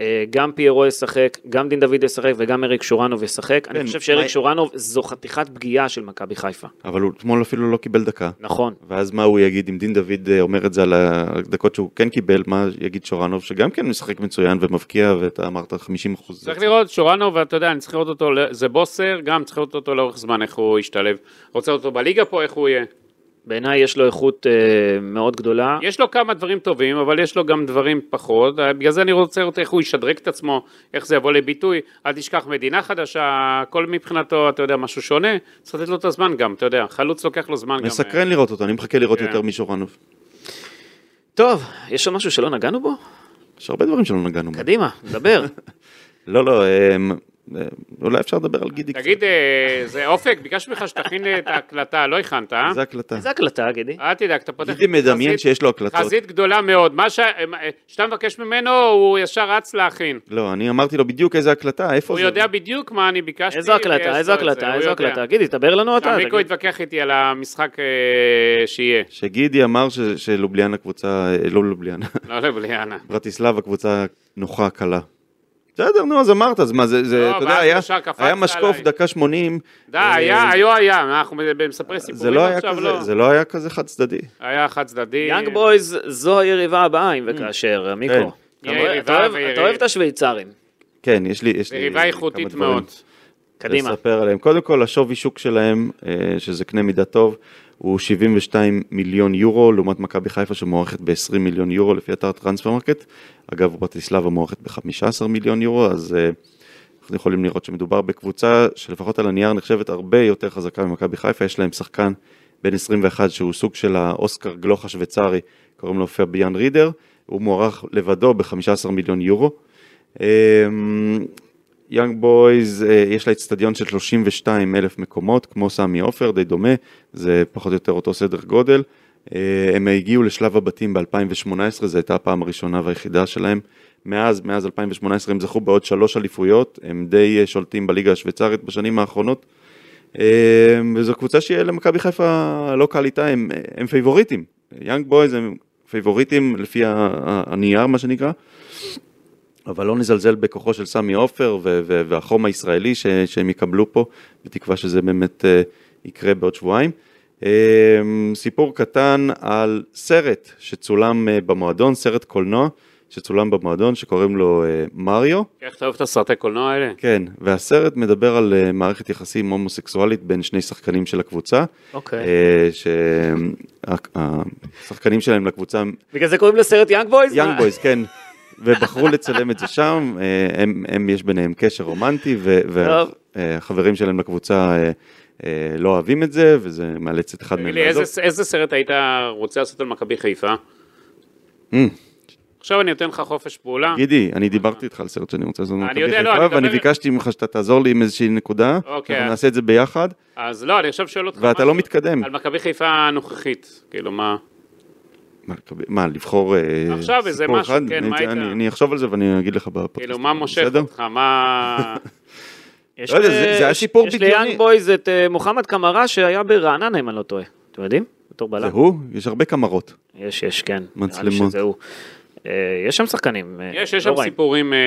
B: אה, גם פיירו ישחק, גם דין דוד ישחק וגם אריק שורנוב ישחק. אני
D: כן,
B: חושב שאריק
D: מה-
B: שורנוב זו חתיכת פגיעה של מכבי חיפה.
D: אבל הוא אתמול אפילו לא קיבל דקה.
B: נכון.
D: ואז מה הוא יגיד אם דין דוד אה, אומר את זה על הדקות שהוא כן קיבל, מה יגיד שורנוב שגם כן משחק מצוין ומבקיע ואתה אמרת 50 אחוז.
C: צריך לראות, שורנו, ואתה יודע, אני צריך לראות אותו, ל- זה בוסר, גם צריך לראות אותו לאורך זמן, איך הוא ישתלב. רוצה אותו בליגה פה, איך הוא יהיה.
B: בעיניי יש לו איכות אה, מאוד גדולה.
C: יש לו כמה דברים טובים, אבל יש לו גם דברים פחות, בגלל זה אני רוצה לראות איך הוא ישדרג את עצמו, איך זה יבוא לביטוי, אל תשכח מדינה חדשה, הכל מבחינתו, אתה יודע, משהו שונה, צריך לתת לו את הזמן גם, אתה יודע, חלוץ לוקח לו זמן גם.
D: מסקרן לראות אותו, אני מחכה לראות
C: אה, כן.
D: יותר משורנוב.
B: טוב, יש עוד משהו שלא נגענו בו?
D: כן. יש הרבה דברים שלא נגענו בהם.
B: קדימה, דבר.
D: לא, לא, אה, אה, אולי אפשר לדבר על גידי קצת.
C: תגיד, אה, זה אופק, ביקשתי ממך שתכין את ההקלטה, לא הכנת, אה?
D: זה הקלטה.
B: איזה הקלטה, גידי?
C: אל תדאג, אתה פותח...
D: גידי מדמיין
C: חזית-
D: שיש לו הקלטות.
C: חזית גדולה מאוד, מה ש- שאתה מבקש ממנו, הוא ישר רץ להכין.
D: לא, אני אמרתי לו בדיוק איזה הקלטה, איפה
C: הוא
D: זה.
C: יודע בדיוק מה אני ביקשתי.
B: איזו
C: ויש לו
B: הקלטה, איזו
C: את זה,
B: הקלטה,
C: הוא
B: איזו
C: יודע.
B: הקלטה. גידי, תדבר לנו אתה.
C: המיקרו
B: תגיד.
C: התווכח איתי על המשחק אה, שיהיה.
D: שגידי אמר ש, שלובליאנה קבוצה, אה, לא לובליאנה,
C: לא לבליאנה.
D: ברטיסלבה קבוצה נוחה, קלה. בסדר, נו, אז אמרת, אז מה, זה, זה
C: לא,
D: אתה יודע,
C: ואז
D: היה,
C: ישר קפצת
D: היה משקוף
C: עליי.
D: דקה 80.
C: די, היה, היה, היה, אנחנו מספרי
D: אה, זה
C: סיפורים
D: לא, היה
C: עכשיו,
D: כזה,
C: לא.
D: זה לא היה כזה חד צדדי.
C: היה חד צדדי.
B: יאנג בויז זו היריבה הבאה, אם
D: כן.
B: וכאשר, המיקרו. אתה
C: יהיה
B: אוהב-
C: יריבה
B: אתה אוהב-
C: ויריב.
B: אתה אוהב את השוויצרים.
D: כן, יש לי, יש לי
C: יריבה איכותית
D: כמה דברים
C: מאוד.
B: קדימה.
D: לספר עליהם. קודם כל, השווי שוק שלהם, אה, שזה קנה מידה טוב, הוא 72 מיליון יורו, לעומת מכבי חיפה שמוערכת ב-20 מיליון יורו, לפי אתר טרנספר מרקט. אגב, ברטיסלבה מוערכת ב-15 מיליון יורו, אז אה, אנחנו יכולים לראות שמדובר בקבוצה שלפחות על הנייר נחשבת הרבה יותר חזקה ממכבי חיפה, יש להם שחקן בן 21 שהוא סוג של האוסקר גלוך השוויצרי, קוראים לו פביאן רידר, הוא מוערך לבדו ב-15 מיליון יורו. אמ, יאנג בויז, אה, יש לה אצטדיון של 32 אלף מקומות, כמו סמי עופר, די דומה, זה פחות או יותר אותו סדר גודל. אה, הם הגיעו לשלב הבתים ב-2018, זו הייתה הפעם הראשונה והיחידה שלהם. מאז, מאז 2018 הם זכו בעוד שלוש אליפויות, הם די אה, שולטים בליגה השוויצרית בשנים האחרונות. אה, וזו קבוצה שיהיה למכבי חיפה לא קל איתה, הם, הם פייבוריטים. יאנג בויז הם פייבוריטים לפי ה- ה- הנייר, מה שנקרא. אבל לא נזלזל בכוחו של סמי עופר ו- ו- והחום הישראלי ש- שהם יקבלו פה, בתקווה שזה באמת אה, יקרה בעוד שבועיים. אה, סיפור קטן על סרט שצולם אה, במועדון, סרט קולנוע שצולם במועדון, שקוראים לו אה, מריו.
C: איך אתה אוהב את הסרטי קולנוע האלה?
D: כן, והסרט מדבר על אה, מערכת יחסים הומוסקסואלית בין שני שחקנים של הקבוצה,
B: אוקיי.
D: אה, שהשחקנים שלהם לקבוצה הם
B: בגלל זה קוראים לסרט יאנג בויז? אה,
D: יאנג בויז, כן. ובחרו לצלם את זה שם, אה, הם, הם יש ביניהם קשר רומנטי,
B: טוב.
D: והחברים שלהם לקבוצה אה, אה, לא אוהבים את זה, וזה מאלץ את אחד
C: תגיד
D: מהם
C: לי,
D: לעזוב.
C: איזה- איזה סרט היית רוצה לעשות על מכבי חיפה?
D: אה.
C: עכשיו אני נותן לך חופש פעולה.
D: גידי, אני דיברתי איתך על סרט שאני רוצה לעשות במכבי
C: יודע, לא, אני
D: חיפה, ואני
C: מדבר-
D: ביקשתי ממך שאתה תעזור לי עם איזושהי נקודה,
C: אוקיי.
D: אנחנו נעשה את זה ביחד,
C: אז לא, אני עכשיו שואל אותך.
D: ואתה
C: משהו
D: לא מתקדם.
C: על מכבי חיפה הנוכחית, כאילו מה...
D: מה, מה, לבחור אה,
C: עכשיו איזה
D: סיפור
C: משהו,
D: אחד?
C: כן,
D: אני-
C: מה היית?
D: אני אני אחשוב על זה ואני אגיד לך בפודקאסט.
C: כאילו מה מושך
D: בסדר?
C: אותך, מה...
B: יש
D: לא יודע,
B: ל-
D: זה- זה היה
B: יש-
D: סיפור
B: יש
D: בדיוני.
B: ליאנג בויז את אה, מוחמד קמרה שהיה ברעננה, אם אני לא טועה. אתם יודעים? בתור
D: זה
B: בלם.
D: הוא? יש הרבה קמרות.
B: יש, יש, כן. נראה לי
D: מצלמות.
B: שזה הוא. אה, יש שם שחקנים. אה,
C: יש, יש
B: לא
C: שם
B: רעים.
C: סיפורים... אה,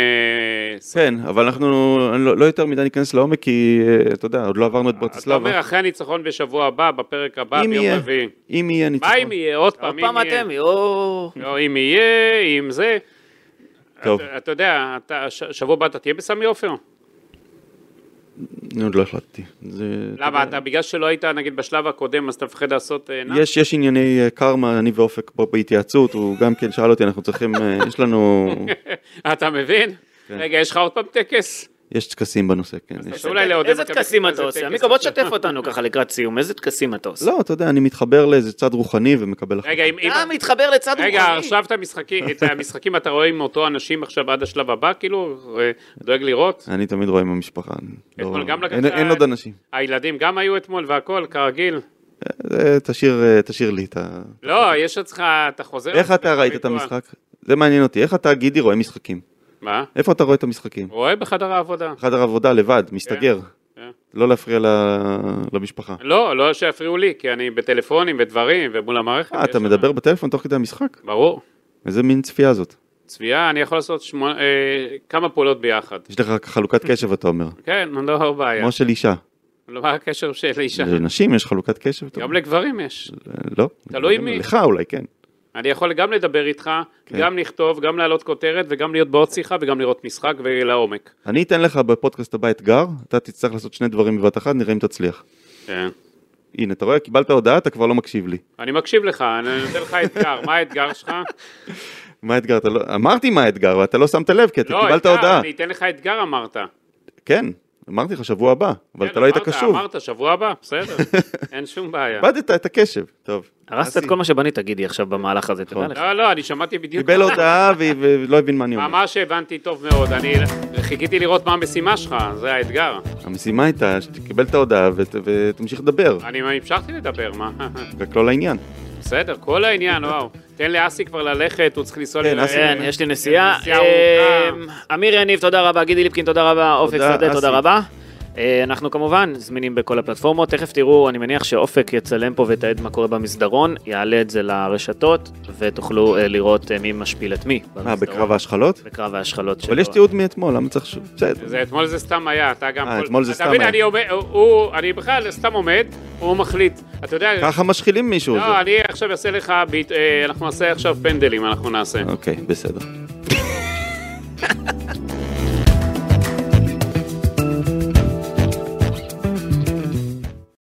C: ס-
D: כן, אבל אנחנו אני לא לא יותר מדי ניכנס לעומק, כי אה, אתה יודע, עוד לא עברנו את
C: אתה אומר,
D: ברטיסלבה.
C: אחרי הניצחון בשבוע הבא, בפרק הבא,
D: אם
C: ביום
D: יהיה,
C: רביעי.
D: אם יהיה ניצחון.
C: מה אם יהיה? עוד
B: עוד
C: פעם, אם
B: פעם
C: יהיה.
B: אתם, יואו.
C: לא, אם יהיה, אם זה.
D: טוב,
C: אתה- אתה יודע, אתה- ש- שבוע הבא אתה תהיה בסמי עופר?
D: אני עוד לא החלטתי. זה-
C: למה? אתה בגלל שלא היית, נגיד, בשלב הקודם, אז אתה מפחד לעשות... אה, נע?
D: יש, יש ענייני אה, קרמה, אני ואופק פה בהתייעצות, הוא גם כן שאל אותי, אנחנו צריכים, אה, יש לנו,
C: אתה מבין?
D: כן.
C: רגע, יש לך עוד פעם טקס?
D: יש טקסים בנושא, כן. יש-
C: אתה אולי לעודד
B: איזה
C: מכבי
B: טקסים
C: חיפה,
B: אתה
C: זה
B: עושה?
C: טקס.
B: עמיקו, בוא תשתף אותנו ככה לקראת סיום. איזה טקסים אתה עושה?
D: לא, אתה יודע, אני מתחבר לאיזה צד רוחני ומקבל
C: רגע, אם... אם-
B: אתה מתחבר לצד
C: לא, רגע,
B: רוחני.
C: עכשיו את המשחקים, את המשחקים אתה רואה עם אותו אנשים עכשיו עד השלב הבא, כאילו? אה, דואג לראות?
D: אני תמיד רואה עם המשפחה. אני לא-
C: אתמול גם לקחת-
D: אין- אין עוד אנשים.
C: הילדים גם היו אתמול והכל, כרגיל.
D: אה, תשאיר, אה, תשאיר לי את ה...
C: לא, יש אצלך, אתה חוזר...
D: איך אתה ראית
C: לא
D: את המשחק? זה מעניין אותי, איך אתה, גידי, רואה משחקים?
C: מה?
D: איפה אתה רואה את המשחקים?
C: רואה בחדר העבודה.
D: חדר עבודה לבד, מסתגר.
C: כן.
D: לא להפריע ל- למשפחה.
C: לא, לא שיפריעו לי, כי אני בטלפונים ודברים ומול המערכת.
D: אה, אתה
C: יש-
D: מדבר בטלפון תוך כדי המשחק?
C: ברור.
D: איזה מין צפייה זאת?
C: צביעה, אני יכול לעשות שמונה- אה, כמה פעולות ביחד.
D: יש לך חלוקת קשב, אתה אומר.
C: כן, לא בעיה.
D: כמו של אישה.
C: לא, מה הקשר של אישה?
D: לנשים יש חלוקת קשב? אתה
C: גם
D: אומר.
C: לגברים יש.
D: לא.
C: תלוי מי.
D: לך אולי, כן.
C: אני יכול גם לדבר איתך,
D: כן.
C: גם לכתוב, גם להעלות כותרת וגם להיות בעוד שיחה וגם לראות משחק ולעומק.
D: אני אתן לך בפודקאסט הבא אתגר, אתה תצטרך לעשות שני דברים בבת אחת, נראה אם תצליח.
C: כן.
D: הנה, אתה רואה? קיבלת הודעה, אתה כבר לא מקשיב לי.
C: אני מקשיב לך, אני נותן לך אתגר, מה האתגר שלך? לא,
D: מה האתגר? אתה לא... אמרתי מה האתגר, ואתה לא שמת לב, כי אתה
C: לא,
D: קיבלת
C: אתגר,
D: הודעה.
C: אני אתן לך אתגר אמרת.
D: כן, אמרתי לך שבוע הבא, אבל
C: כן,
D: אתה לא היית
C: אמרת,
D: קשוב.
C: אמרת, שבוע הבא, בסדר, אין שום בעיה.
D: איבדת את הקשב. טוב.
B: הרסת את
C: אה,
B: כל מה שבנית, גידי, עכשיו במהלך הזה. תדע
D: נכון.
B: לך.
C: לא, לא, אני שמעתי בדיוק.
D: קיבל הודעה ו- ו- ולא הבין מה אני אומר.
C: ממש הבנתי טוב מאוד, אני חיכיתי לראות מה המשימה שלך, זה האתגר.
D: המשימה הייתה שתקבל את ההודעה ות- ותמשיך לדבר,
C: אני המשכתי לדבר, מה?
D: רק לא לעניין.
C: בסדר, כל העניין, וואו. תן לאסי כבר ללכת, הוא צריך לנסוע...
D: כן,
C: ל-
D: אסי,
B: כן, יש לי נסיעה.
C: אה, נסיעה
D: אמ,
C: ארוכה.
B: אה, אמיר יניב, תודה רבה. גידי ליפקין, תודה רבה. אופק
D: תודה,
B: שדה, תודה
D: אסי.
B: רבה. אה, אנחנו כמובן זמינים בכל הפלטפורמות. תכף תראו, אני מניח שאופק יצלם פה ויתעד מה קורה במסדרון, יעלה את זה לרשתות, ותוכלו אה, לראות אה, מי משפיל את מי.
D: מה,
B: במסדרון.
D: בקרב ההשחלות?
B: בקרב ההשחלות שלו.
D: אבל יש תיעוד מאתמול, למה צריך שוב? בסדר.
C: זה, אתמול זה סתם היה, אתה גם...
D: אה,
C: כל-
D: אתמול זה
C: אתה
D: סתם
C: מבין,
D: היה.
C: אני עומד, הוא, אני בכלל סתם עומד, הוא מחליט. אתה יודע...
D: ככה משחילים מישהו. זה-
C: לא, אני עכשיו אעשה לך, ביט- אה, אנחנו נעשה עכשיו פנדלים, אנחנו נעשה.
D: אוקיי, בסדר.